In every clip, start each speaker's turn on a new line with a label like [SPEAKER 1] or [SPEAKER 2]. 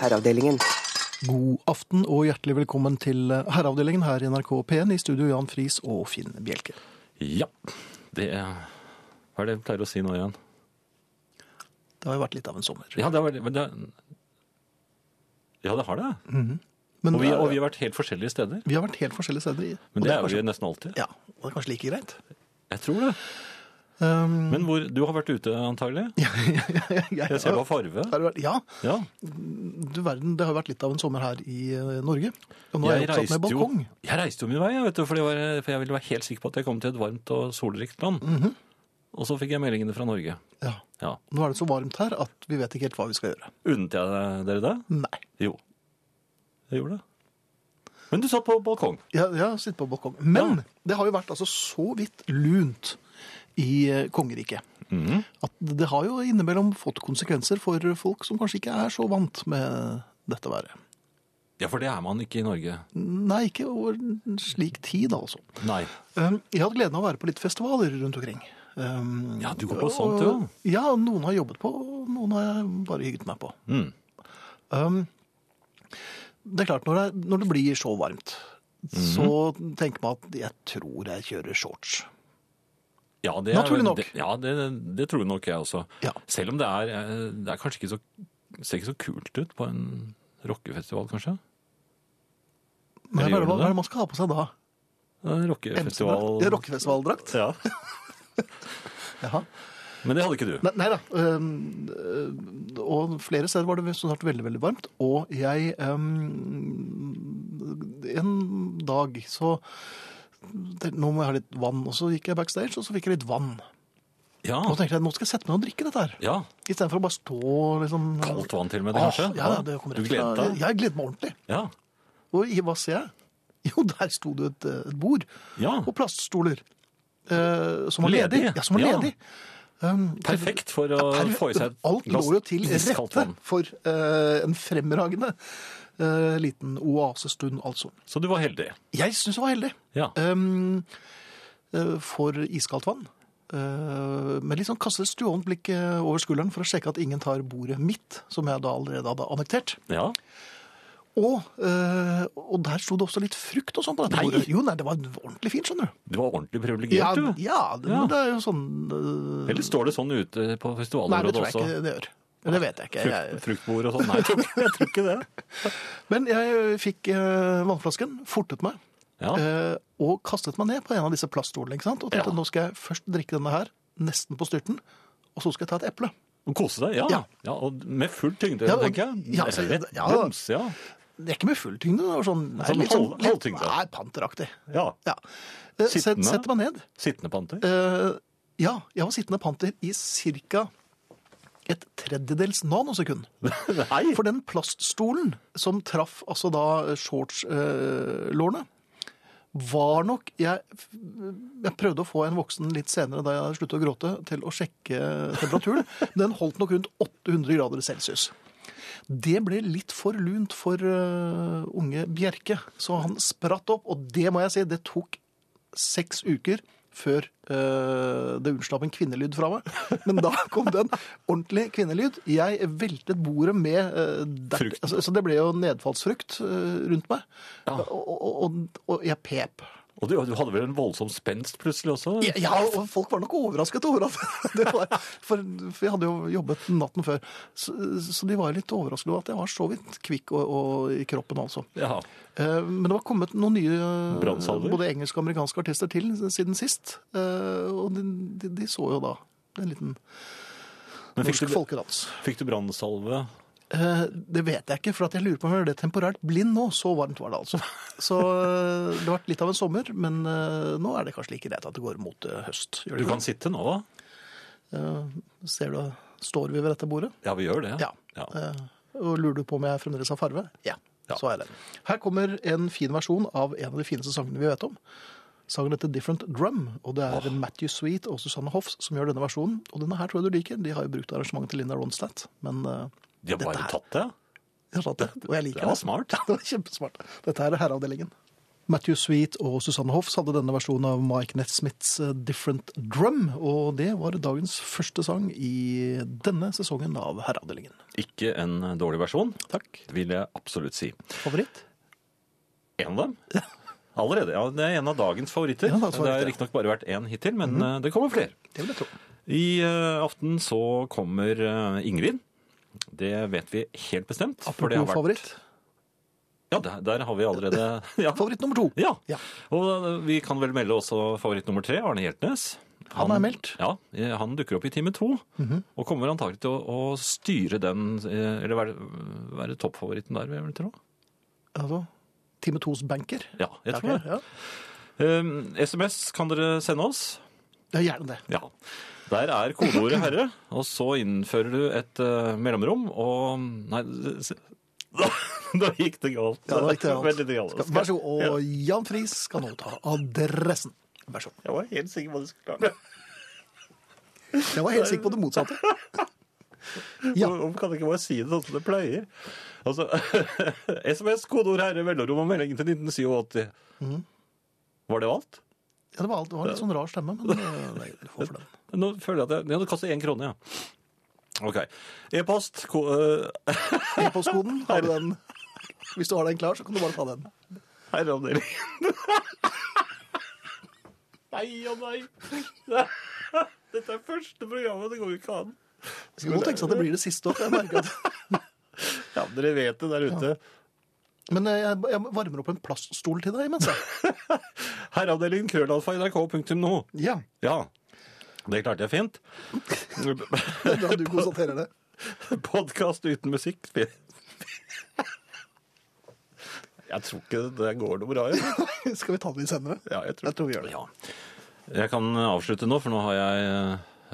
[SPEAKER 1] Herreavdelingen.
[SPEAKER 2] God aften og hjertelig velkommen til eh, Herreavdelingen her i NRK P1 i studio Jan Friis og Finn Bjelke.
[SPEAKER 3] Ja, det er Hva er det jeg pleier å si nå igjen?
[SPEAKER 2] Det har jo vært litt av en sommer.
[SPEAKER 3] Ja, det har, men det, ja, det har det.
[SPEAKER 2] Mm. Men eh,
[SPEAKER 3] Og vi, og vi har vært helt forskjellige steder.
[SPEAKER 2] vi har vært helt forskjellige steder. i- og
[SPEAKER 3] Men det er
[SPEAKER 2] kanskje,
[SPEAKER 3] vi nesten alltid.
[SPEAKER 2] Ja, og det er kanskje like greit.
[SPEAKER 3] Jeg tror det.
[SPEAKER 2] Um,
[SPEAKER 3] Men hvor, du har vært ute, antagelig?
[SPEAKER 2] jeg,
[SPEAKER 3] Jeg ser du har farve.
[SPEAKER 2] Har det vært- Ja,
[SPEAKER 3] Ja.
[SPEAKER 2] du verden, det har jo vært litt av en sommer her i eh, Norge. Og nå er jeg opptatt
[SPEAKER 3] Jeg
[SPEAKER 2] med
[SPEAKER 3] reiste jo,
[SPEAKER 2] balkong.
[SPEAKER 3] jeg reiste jo min vei, jeg, vet du, for, det var, for jeg ville være helt sikker på at jeg kom til et varmt og solrikt land.
[SPEAKER 2] Mhm.
[SPEAKER 3] Og så fikk jeg meldingene fra Norge.
[SPEAKER 2] Ja.
[SPEAKER 3] Ja.
[SPEAKER 2] Nå er det så varmt her at vi vet ikke helt hva vi skal gjøre.
[SPEAKER 3] Unnet jeg dere det?
[SPEAKER 2] Nei.
[SPEAKER 3] Jo. Jeg gjorde det. Men du satt på balkong.
[SPEAKER 2] Jeg, jeg har sittet på balkong. Men det har jo vært altså så vidt lunt i eh, kongeriket. At det har jo innimellom fått konsekvenser for folk som kanskje ikke er så vant med dette været.
[SPEAKER 3] Ja, for det er man ikke i Norge.
[SPEAKER 2] Nei, ikke over en slik tid, altså.
[SPEAKER 3] Nei.
[SPEAKER 2] Um, Jeg hadde gleden av å være på litt festivaler rundt omkring. Um,
[SPEAKER 3] Ja, du går på sånt, du.
[SPEAKER 2] og- Ja, noen har jobbet på, og noen har jeg bare hygget meg på.
[SPEAKER 3] Mm.
[SPEAKER 2] Um, det er klart, når det, er- når det blir så varmt,
[SPEAKER 3] Mhm.
[SPEAKER 2] så tenker man at jeg tror jeg kjører shorts.
[SPEAKER 3] Ja, det er,
[SPEAKER 2] Naturlig nok.
[SPEAKER 3] Det, ja, det, det tror nok jeg også.
[SPEAKER 2] Ja.
[SPEAKER 3] Selv om det er, eh, det er kanskje ikke så, ser ikke så kult ut på en rockefestival, kanskje?
[SPEAKER 2] Men hva, er
[SPEAKER 3] Eller
[SPEAKER 2] det-
[SPEAKER 3] gjør du
[SPEAKER 2] hva er det
[SPEAKER 3] det?
[SPEAKER 2] man skal ha på seg da?
[SPEAKER 3] En Rockefestival...
[SPEAKER 2] MC-drakt? Ja, rockefestivaldrakt.
[SPEAKER 3] Ja.
[SPEAKER 2] Jaha.
[SPEAKER 3] Men det hadde ikke du.
[SPEAKER 2] Nei, nei da. Um, øh, og flere steder var det snart veldig, veldig varmt. Og jeg um, En dag så tenkte, Nå må jeg ha litt vann. Og så gikk jeg backstage, og så fikk jeg litt vann.
[SPEAKER 3] Ja.
[SPEAKER 2] Og så tenkte jeg nå skal jeg sette meg ned og drikke dette her.
[SPEAKER 3] ja.
[SPEAKER 2] Istedenfor å bare stå liksom
[SPEAKER 3] Kaldt vann til og med,
[SPEAKER 2] Åh,
[SPEAKER 3] kanskje?
[SPEAKER 2] Ja, ja, det kommer
[SPEAKER 3] du
[SPEAKER 2] rett fra-
[SPEAKER 3] gledet deg?
[SPEAKER 2] Jeg gledet meg ordentlig.
[SPEAKER 3] Ja.
[SPEAKER 2] Og i hva ser jeg? Jo, der sto det et, eh, et bord
[SPEAKER 3] ja.
[SPEAKER 2] og plaststoler. eh, som var ledig.
[SPEAKER 3] Ledig.
[SPEAKER 2] Ja, som var
[SPEAKER 3] Ja.
[SPEAKER 2] ledig. Um,
[SPEAKER 3] Perfekt for å
[SPEAKER 2] per-
[SPEAKER 3] få i seg et
[SPEAKER 2] Alt lå
[SPEAKER 3] glass
[SPEAKER 2] jo til
[SPEAKER 3] iskaldt
[SPEAKER 2] rette
[SPEAKER 3] vann.
[SPEAKER 2] for eh, en fremragende eh, liten oasestund, altså.
[SPEAKER 3] Så du var heldig.
[SPEAKER 2] Jeg syns jeg var heldig.
[SPEAKER 3] Ja.
[SPEAKER 2] Um, eh, for iskaldt vann. Eh, Men liksom kastet et stuant blikk eh, over skulderen for å sjekke at ingen tar bordet mitt, som jeg da allerede hadde annektert.
[SPEAKER 3] Ja.
[SPEAKER 2] Og, eh, og der sto det også litt frukt og sånn på dette
[SPEAKER 3] Nei.
[SPEAKER 2] bordet. Jo, nei, det var ordentlig fint, skjønner du.
[SPEAKER 3] Du var ordentlig
[SPEAKER 2] Ja,
[SPEAKER 3] privilegert, du.
[SPEAKER 2] ja, det,
[SPEAKER 3] Ja.
[SPEAKER 2] men det er jo sånn eh,
[SPEAKER 3] Eller står det sånn ute på
[SPEAKER 2] Nei, det
[SPEAKER 3] festivalområdet
[SPEAKER 2] tror jeg
[SPEAKER 3] også?
[SPEAKER 2] ikke det gjør. Men det vet jeg ikke.
[SPEAKER 3] Frukt,
[SPEAKER 2] Jeg,
[SPEAKER 3] fruktbord og sånn? Nei, jeg tror ikke- jeg tror ikke det.
[SPEAKER 2] men jeg fikk eh, vannflasken, fortet meg,
[SPEAKER 3] Ja.
[SPEAKER 2] eh, og kastet meg ned på en av disse plaststolene. ikke sant? Og tenkte
[SPEAKER 3] Ja.
[SPEAKER 2] nå skal jeg først drikke denne her, nesten på styrten, og så skal jeg ta et eple.
[SPEAKER 3] Og kose deg, ja. ja.
[SPEAKER 2] Ja.
[SPEAKER 3] og med full tyngde,
[SPEAKER 2] Ja, og-
[SPEAKER 3] tenker jeg.
[SPEAKER 2] ja, altså,
[SPEAKER 3] Rett
[SPEAKER 2] ja.
[SPEAKER 3] brems, ja.
[SPEAKER 2] Det er ikke med full tyngde. det var sånn, nei,
[SPEAKER 3] Sånn
[SPEAKER 2] litt sånn,
[SPEAKER 3] halv-
[SPEAKER 2] litt-
[SPEAKER 3] halvtyngde.
[SPEAKER 2] Nei, panteraktig.
[SPEAKER 3] ja.
[SPEAKER 2] Ja. Eh, Set,
[SPEAKER 3] Sittende?
[SPEAKER 2] setter meg ned.
[SPEAKER 3] Sittende panter.
[SPEAKER 2] Eh, ja, jeg var sittende panter i ca. et tredjedels nanosekund.
[SPEAKER 3] Nei!
[SPEAKER 2] For den plaststolen som traff altså da shortslårene, var nok jeg, jeg prøvde å få en voksen litt senere, da jeg hadde sluttet å gråte, til å sjekke temperaturen. Den holdt nok rundt 800 grader celsius. Det ble litt for lunt for eh, unge Bjerke, så han spratt opp. Og det må jeg si, det tok seks uker før eh, det unnslapp en kvinnelyd fra meg. Men da kom det en ordentlig kvinnelyd. Jeg veltet bordet med eh, dert-
[SPEAKER 3] Frukt.
[SPEAKER 2] Altså, så det ble jo nedfallsfrukt eh, rundt meg. Og, og, og, og jeg pep.
[SPEAKER 3] Og du, du hadde vel en voldsom spenst plutselig også?
[SPEAKER 2] Ja, ja, og folk var nok overrasket over at det var For, for jeg hadde jo jobbet natten før. Så, så de var jo litt overrasket over at jeg var så vidt kvikk og, og i kroppen, altså.
[SPEAKER 3] Ja.
[SPEAKER 2] Eh, Men det var kommet noen nye eh,
[SPEAKER 3] Brannsalver?
[SPEAKER 2] både engelske og amerikanske artister til siden sist. Eh, Og de, de, de så jo da en liten
[SPEAKER 3] Men fikk
[SPEAKER 2] norsk
[SPEAKER 3] du,
[SPEAKER 2] folkedans.
[SPEAKER 3] fikk du brannsalve?
[SPEAKER 2] Eh, Det vet jeg ikke, for at jeg lurer på om jeg er det temporært blind nå. Så varmt var det altså. Så eh, det har vært litt av en sommer, men eh, nå er det kanskje like greit at det går mot eh, høst. Gjør
[SPEAKER 3] Du
[SPEAKER 2] det ikke?
[SPEAKER 3] kan sitte nå, da.
[SPEAKER 2] Eh, Ser du, står vi ved dette bordet?
[SPEAKER 3] Ja, vi gjør det.
[SPEAKER 2] Ja. Eh, Og lurer du på om jeg fremdeles har farve? Ja,
[SPEAKER 3] Ja.
[SPEAKER 2] så er det. Her kommer en fin versjon av en av de fineste sangene vi vet om. Sangen heter Different Drum, og det er Matthew Sweet og Susanne Hoffs som gjør denne versjonen. Og denne her tror jeg du liker. De har jo brukt arrangementet til Linda Ronstadt, men eh,
[SPEAKER 3] De har
[SPEAKER 2] dette
[SPEAKER 3] bare
[SPEAKER 2] her-
[SPEAKER 3] tatt det.
[SPEAKER 2] jeg har tatt det, og jeg liker
[SPEAKER 3] Det var smart.
[SPEAKER 2] Det var kjempesmart. Dette her er herreavdelingen. Matthew Sweet og Susanne Hoffs hadde denne versjonen av Mike Nesmiths eh, Different Drum, og det var dagens første sang i denne sesongen av Herreavdelingen.
[SPEAKER 3] Ikke en dårlig versjon,
[SPEAKER 2] Takk.
[SPEAKER 3] vil jeg absolutt si.
[SPEAKER 2] Favoritt?
[SPEAKER 3] En av dem? Allerede. Ja, det er en av dagens favoritter.
[SPEAKER 2] En av dagens
[SPEAKER 3] det har
[SPEAKER 2] favoritter. Mhm.
[SPEAKER 3] riktignok bare vært én hittil, men eh, det kommer flere.
[SPEAKER 2] Det vil jeg tro.
[SPEAKER 3] I eh, aften så kommer eh, Ingrid. Det vet vi helt bestemt. for det har
[SPEAKER 2] Apropos favoritt.
[SPEAKER 3] Ja, der, der har vi allerede ja.
[SPEAKER 2] Favoritt nummer to.
[SPEAKER 3] ja.
[SPEAKER 2] Ja.
[SPEAKER 3] Og eh, vi kan vel melde også favoritt nummer tre, Arne Hjeltnes.
[SPEAKER 2] Han er meldt. Mhm.
[SPEAKER 3] Ja, eh, han dukker opp i time to, og kommer antagelig til å, å styre den, eh, eller være, være toppfavoritten der, vil jeg vel tro.
[SPEAKER 2] Altså, Time 2s banker.
[SPEAKER 3] Ja, jeg tror
[SPEAKER 2] Ok,
[SPEAKER 3] det.
[SPEAKER 2] ja.
[SPEAKER 3] Eh, SMS kan dere sende oss.
[SPEAKER 2] Ja, gjerne det.
[SPEAKER 3] Ja. Der er kodeordet 'herre', og så innfører du et eh, mellomrom og Nei, s- da, da gikk det galt.
[SPEAKER 2] Ja, det gikk det galt.
[SPEAKER 3] Veldig galt.
[SPEAKER 2] Skal, vær så god. Og Jan Friis skal nå ta adressen. Vær så god.
[SPEAKER 3] Jeg var helt sikker på at du skulle klare det.
[SPEAKER 2] Jeg var helt sikker på det motsatte. Ja.
[SPEAKER 3] Hvorfor kan jeg ikke bare si det sånn som det pleier? Altså, SMS, kodeord herre, mellomrom og melding til 1987.
[SPEAKER 2] Mhm.
[SPEAKER 3] Var det alt?
[SPEAKER 2] Ja, det var, alt- det var en litt sånn rar stemme, men eh, nei, du får for den.
[SPEAKER 3] Nå føler jeg at jeg, jeg hadde kastet én krone, ja. OK. E-post ko, eh,
[SPEAKER 2] E-postkoden, har du den? Hvis du har den klar, så kan du bare ta den.
[SPEAKER 3] Herreavdelingen. nei og nei. Dette er første programmet, det går jo ikke an.
[SPEAKER 2] Det skal godt tenke seg at det blir det siste også, jeg merker at-
[SPEAKER 3] Ja, dere vet det der ute.
[SPEAKER 2] Men eh, jeg, jeg varmer opp en plaststol til deg imens. jeg.
[SPEAKER 3] Herreavdelingen krøllalfa nrk.no.
[SPEAKER 2] Ja,
[SPEAKER 3] Ja. Det klarte jeg fint.
[SPEAKER 2] det er bra du konstaterer det.
[SPEAKER 3] Podkast uten musikk. Jeg tror ikke det går noe bra. Jeg,
[SPEAKER 2] Skal vi ta det i senere?
[SPEAKER 3] ja, jeg, tror.
[SPEAKER 2] Jeg tror vi gjør det.
[SPEAKER 3] Ja. jeg kan avslutte nå, for nå har jeg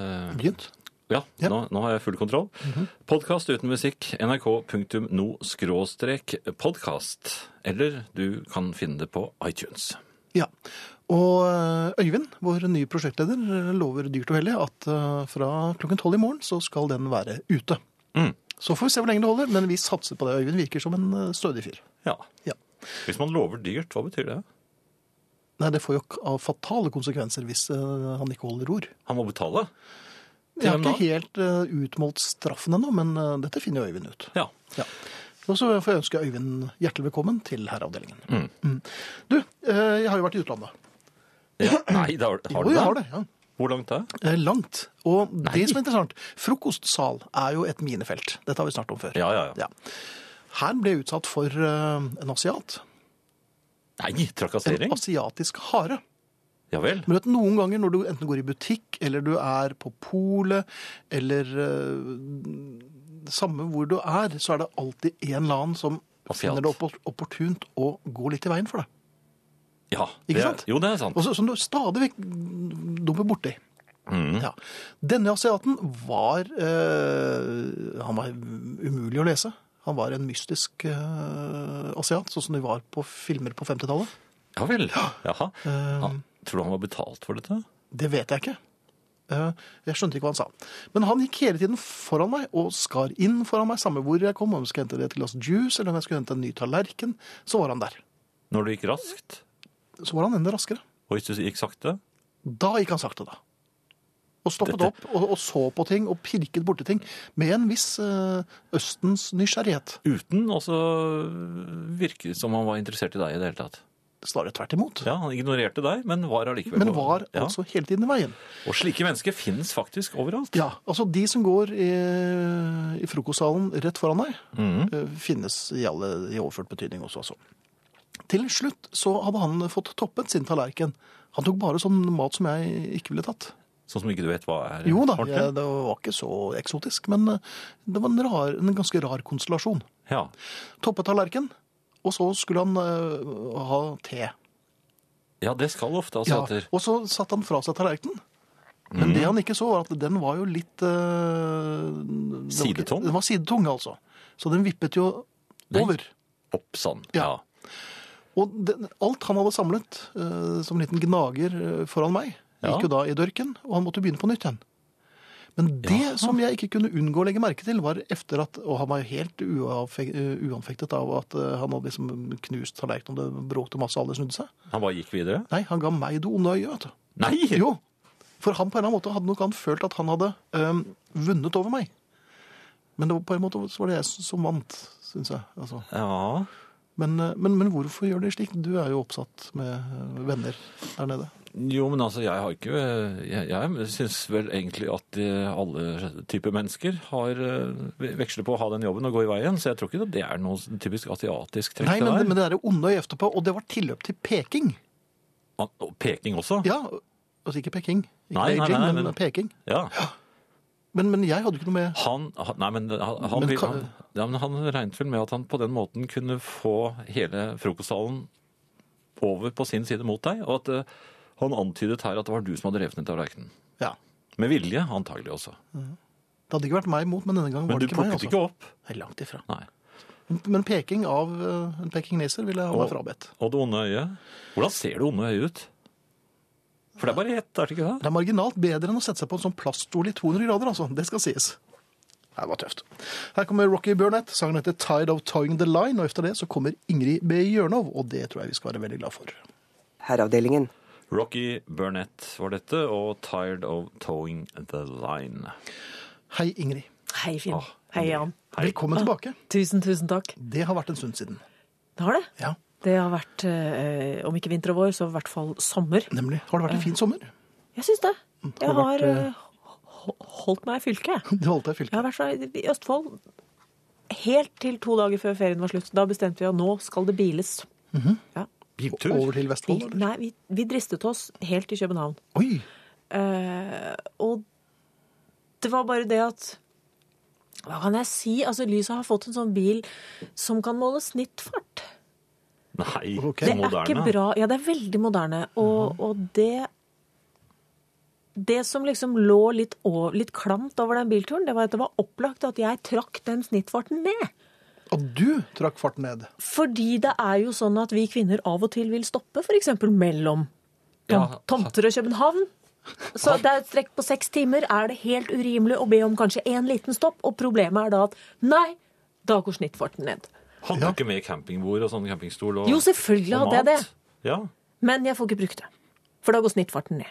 [SPEAKER 3] eh,
[SPEAKER 2] Begynt?
[SPEAKER 3] Ja,
[SPEAKER 2] Ja. Mhm.
[SPEAKER 3] Nå, nå har jeg full kontroll. Podkast uten musikk, nrk.no-podkast. Eller du kan finne det på iTunes.
[SPEAKER 2] Ja. Og eh, Øyvind, vår nye prosjektleder, eh, lover dyrt og hellig at eh, fra klokken tolv i morgen så skal den være ute.
[SPEAKER 3] Mm.
[SPEAKER 2] Så får vi se hvor lenge det holder, men vi satser på det. Øyvind virker som en eh, stødig fyr.
[SPEAKER 3] Ja.
[SPEAKER 2] Ja.
[SPEAKER 3] Hvis man lover dyrt, hva betyr det?
[SPEAKER 2] Nei, det får jo k- av fatale konsekvenser hvis eh, han ikke holder ord.
[SPEAKER 3] Han må betale?
[SPEAKER 2] Jeg har
[SPEAKER 3] hvem da?
[SPEAKER 2] ikke helt eh, utmålt straffen ennå, men eh, dette finner jo Øyvind ut.
[SPEAKER 3] Ja.
[SPEAKER 2] Ja. Og så får jeg ønske Øyvind hjertelig velkommen til herreavdelingen.
[SPEAKER 3] Mm.
[SPEAKER 2] Mm. Du, eh, jeg har jo vært i utlandet.
[SPEAKER 3] ja. Nei, da, har du
[SPEAKER 2] jo,
[SPEAKER 3] det?
[SPEAKER 2] jeg har det. Ja.
[SPEAKER 3] Hvor langt det?
[SPEAKER 2] Eh, Langt. Og
[SPEAKER 3] Nei.
[SPEAKER 2] det som er interessant, frokostsal er jo et minefelt. Dette har vi snart om før.
[SPEAKER 3] Ja, ja, ja.
[SPEAKER 2] Ja. Her ble jeg utsatt for eh, en asiat.
[SPEAKER 3] Nei, trakassering?
[SPEAKER 2] En asiatisk hare.
[SPEAKER 3] Ja vel.
[SPEAKER 2] Men du vet, noen ganger når du enten går i butikk, eller du er på polet, eller eh, samme hvor du er, så er det alltid en eller annen som
[SPEAKER 3] Asiat.
[SPEAKER 2] finner det oppor- opportunt å gå litt i veien for deg.
[SPEAKER 3] Ja,
[SPEAKER 2] Ikke
[SPEAKER 3] det,
[SPEAKER 2] sant?
[SPEAKER 3] Jo, det er sant.
[SPEAKER 2] Og så, som du stadig vekk dumper borti.
[SPEAKER 3] Mm.
[SPEAKER 2] Ja. Denne asiaten var eh, Han var umulig å lese. Han var en mystisk eh, asiat, sånn som de var på filmer på 50-tallet.
[SPEAKER 3] Ja vel. Jaha.
[SPEAKER 2] Eh,
[SPEAKER 3] Ja, tror du han var betalt for dette?
[SPEAKER 2] Det vet jeg ikke. Eh, Jeg skjønte ikke hva han sa. Men han gikk hele tiden foran meg og skar inn foran meg, samme hvor jeg kom, om jeg skulle hente et glass juice eller om jeg skulle hente en ny tallerken. Så var han der.
[SPEAKER 3] Når du gikk raskt?
[SPEAKER 2] Så var han enda raskere.
[SPEAKER 3] Og hvis du gikk sakte?
[SPEAKER 2] Da gikk han sakte, da. Og stoppet
[SPEAKER 3] Dette-
[SPEAKER 2] opp og, og så på ting og pirket borti ting med en viss eh, Østens nysgjerrighet.
[SPEAKER 3] Uten å virke som han var interessert i deg i det hele tatt.
[SPEAKER 2] Snarere tvert imot.
[SPEAKER 3] Ja, Han ignorerte deg, men var allikevel
[SPEAKER 2] Men var
[SPEAKER 3] ja.
[SPEAKER 2] altså hele tiden i veien.
[SPEAKER 3] Og slike mennesker finnes faktisk overalt.
[SPEAKER 2] Ja, altså De som går i, i frokostsalen rett foran deg,
[SPEAKER 3] Mhm.
[SPEAKER 2] eh, finnes i, alle, i overført betydning også. Altså. Til slutt så hadde han fått toppet sin tallerken. Han tok bare sånn mat som jeg ikke ville tatt.
[SPEAKER 3] Sånn som ikke du vet hva er
[SPEAKER 2] Jo da,
[SPEAKER 3] ordentlig.
[SPEAKER 2] jeg, det var ikke så eksotisk, men eh, det var en, rar, en ganske rar konstellasjon.
[SPEAKER 3] Ja.
[SPEAKER 2] Toppet tallerken, og så skulle han eh, ha te.
[SPEAKER 3] ja, det skal ofte asiater.
[SPEAKER 2] Og så satte han fra seg tallerkenen. Men
[SPEAKER 3] Mm.
[SPEAKER 2] det han ikke så, var at den var jo litt eh, den var ikke-
[SPEAKER 3] Sidetung?
[SPEAKER 2] Den var sidetung, altså. Så den vippet jo
[SPEAKER 3] Nei.
[SPEAKER 2] over.
[SPEAKER 3] Opp sånn. Ja.
[SPEAKER 2] Ja. Og den, alt han hadde samlet eh, som en liten gnager eh, foran meg,
[SPEAKER 3] Ja.
[SPEAKER 2] gikk jo da i dørken, og han måtte begynne på nytt igjen. Men det som jeg ikke kunne unngå å legge merke til, var efter at Og han var jo helt uavfe- uanfektet av at eh, han hadde liksom knust tallerkenen, og det bråkte masse, alle snudde seg.
[SPEAKER 3] Han bare gikk videre?
[SPEAKER 2] Nei, han ga meg det onde øyet, vet du.
[SPEAKER 3] Nei!
[SPEAKER 2] Jo, for han på en eller annen måte hadde nok han følt at han hadde øhm, vunnet over meg. Men det var på en måte så var det jeg som vant, syns jeg. Altså.
[SPEAKER 3] Ja.
[SPEAKER 2] Men, øh, men, men hvorfor gjør de slik? Du er jo oppsatt med øh, venner der nede.
[SPEAKER 3] Jo, men altså, jeg har ikke Jeg, jeg syns vel egentlig at de, alle typer mennesker har eh, veksler på å ha den jobben og gå i veien, så jeg tror ikke det er noe typisk asiatisk trekk
[SPEAKER 2] Nei, men,
[SPEAKER 3] det der.
[SPEAKER 2] men det derre onde øyet etterpå, og det var tilløp til peking.
[SPEAKER 3] Ah, Og peking også?
[SPEAKER 2] Ja, altså ikke Peking, ikke
[SPEAKER 3] Nei, nei,
[SPEAKER 2] Beijing,
[SPEAKER 3] nei,
[SPEAKER 2] men,
[SPEAKER 3] men-
[SPEAKER 2] peking.
[SPEAKER 3] Ja.
[SPEAKER 2] Men, men jeg hadde ikke noe med
[SPEAKER 3] Han, han- nei, men, han, han,
[SPEAKER 2] Men
[SPEAKER 3] vil-
[SPEAKER 2] kan-
[SPEAKER 3] han, ja, men han regnet vel med at han på den måten kunne få hele frokostsalen over på sin side mot deg, og at eh, han antydet her at det var du som hadde revet ned tallerkenen.
[SPEAKER 2] Ja,
[SPEAKER 3] Med vilje, antagelig også.
[SPEAKER 2] det hadde ikke vært meg imot, men denne gangen
[SPEAKER 3] Men
[SPEAKER 2] var
[SPEAKER 3] du
[SPEAKER 2] det ikke meg.
[SPEAKER 3] plukket
[SPEAKER 2] Altså.
[SPEAKER 3] ikke opp.
[SPEAKER 2] Nei, langt ifra.
[SPEAKER 3] Nei.
[SPEAKER 2] Men, men peking av øh, en pekingneser ville jeg ha meg
[SPEAKER 3] Og-
[SPEAKER 2] frabedt.
[SPEAKER 3] Og det onde øyet? Hvordan ser det onde øyet ut? For det er bare ett, er det ikke det?
[SPEAKER 2] Det er marginalt bedre enn å sette seg på en sånn plaststol i 200 grader, altså. Det skal sies. Det var tøft. Her kommer Rocky Burnett. Sangen heter 'Tide of Towing the Line', og etter det så kommer Ingrid B. Jørnov, og det tror jeg vi skal være veldig glad for.
[SPEAKER 1] Herreavdelingen.
[SPEAKER 3] Rocky Burnett var dette, og Tired of Towing the Line.
[SPEAKER 2] Hei, Ingrid.
[SPEAKER 4] Hei, Finn. Hei, Jan.
[SPEAKER 3] Hei.
[SPEAKER 2] Velkommen tilbake.
[SPEAKER 4] Tusen, tusen takk.
[SPEAKER 2] Det har vært en stund siden.
[SPEAKER 4] Det har det.
[SPEAKER 2] Ja,
[SPEAKER 4] Det har vært, eh, om ikke vinter og vår, så i hvert fall sommer.
[SPEAKER 2] nemlig. Har det vært en fin sommer?
[SPEAKER 4] Jeg syns det. Jeg
[SPEAKER 2] har vært,
[SPEAKER 4] har
[SPEAKER 2] eh,
[SPEAKER 4] eh, ho- holdt meg i fylket.
[SPEAKER 2] Du holdt deg i
[SPEAKER 4] Jeg
[SPEAKER 2] fylket.
[SPEAKER 4] har vært fra i Østfold helt til to dager før ferien var slutt. Da bestemte vi at nå skal det biles.
[SPEAKER 2] Mm-hmm.
[SPEAKER 4] ja.
[SPEAKER 3] Biltur?
[SPEAKER 2] Over til
[SPEAKER 4] Vi,
[SPEAKER 2] Vestfold, eller?
[SPEAKER 4] nei, vi, vi dristet oss helt til København.
[SPEAKER 2] Oi!
[SPEAKER 4] Eh, og det var bare det at Hva kan jeg si? Altså, Lyset har fått en sånn bil som kan måle snittfart.
[SPEAKER 3] Nei,
[SPEAKER 2] Ok.
[SPEAKER 3] så
[SPEAKER 4] Det er ikke
[SPEAKER 3] moderne.
[SPEAKER 4] bra. Ja, det er veldig moderne. Og, og det Det som liksom lå litt, å- litt klamt over den bilturen, det var at det var opplagt at jeg trakk den snittfarten ned.
[SPEAKER 2] Og du trakk farten ned.
[SPEAKER 4] Fordi det er jo sånn at vi kvinner av og til vil stoppe f.eks. mellom tom
[SPEAKER 3] Ja.
[SPEAKER 4] tomter og København. Så det er et strekk på seks timer. Er det helt urimelig å be om kanskje én liten stopp? Og problemet er da at nei, da går snittfarten ned.
[SPEAKER 3] Hadde du ikke med campingbord og sånn campingstol og
[SPEAKER 4] Jo, selvfølgelig
[SPEAKER 3] og
[SPEAKER 4] hadde jeg det.
[SPEAKER 3] mat? Ja.
[SPEAKER 4] Men jeg får ikke brukt det. For da går snittfarten ned.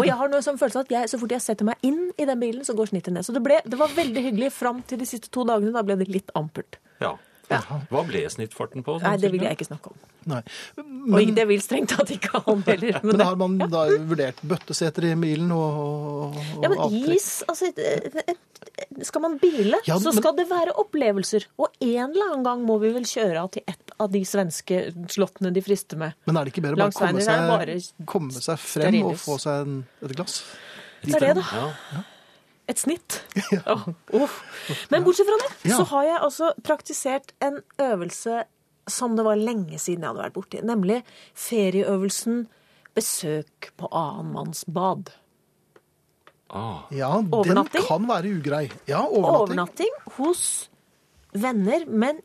[SPEAKER 4] Og jeg har noe som følelse av at jeg, så fort jeg setter meg inn i den bilen, så går snittet ned. Så det, ble, det var veldig hyggelig fram til de siste to dagene. Da ble det litt ampert.
[SPEAKER 3] ja. Hva ble snittfarten på? sånn
[SPEAKER 4] Nei, det vil
[SPEAKER 3] cirka?
[SPEAKER 4] jeg ikke snakke om.
[SPEAKER 2] Nei.
[SPEAKER 4] Og ikke- det vil strengt tatt ikke han heller.
[SPEAKER 2] Men har man da vurdert bøtteseter i bilen og, og, og
[SPEAKER 4] Ja, men
[SPEAKER 2] avtrekk?
[SPEAKER 4] is altså, eh, eh, Skal man bile,
[SPEAKER 2] Ja,
[SPEAKER 4] så
[SPEAKER 2] men-
[SPEAKER 4] skal det være opplevelser. Og en eller annen gang må vi vel kjøre av til et av de svenske slottene de frister med.
[SPEAKER 2] Men er det ikke bedre å bare
[SPEAKER 4] Langs veien
[SPEAKER 2] komme
[SPEAKER 4] er
[SPEAKER 2] seg,
[SPEAKER 4] det bare
[SPEAKER 2] komme seg frem og
[SPEAKER 4] stearinlys.
[SPEAKER 2] få seg en, et glass?
[SPEAKER 4] Det er det, da.
[SPEAKER 3] Ja.
[SPEAKER 4] Et snitt. Åh, uff. Men bortsett fra det,
[SPEAKER 2] Ja.
[SPEAKER 4] så har jeg altså praktisert en øvelse som det var lenge siden jeg hadde vært borti. Nemlig ferieøvelsen besøk på annen manns bad.
[SPEAKER 3] Ah.
[SPEAKER 2] Ja,
[SPEAKER 4] Overnatting?
[SPEAKER 2] Den kan være ugrei. Ja, overnatting.
[SPEAKER 4] Overnatting hos venner, men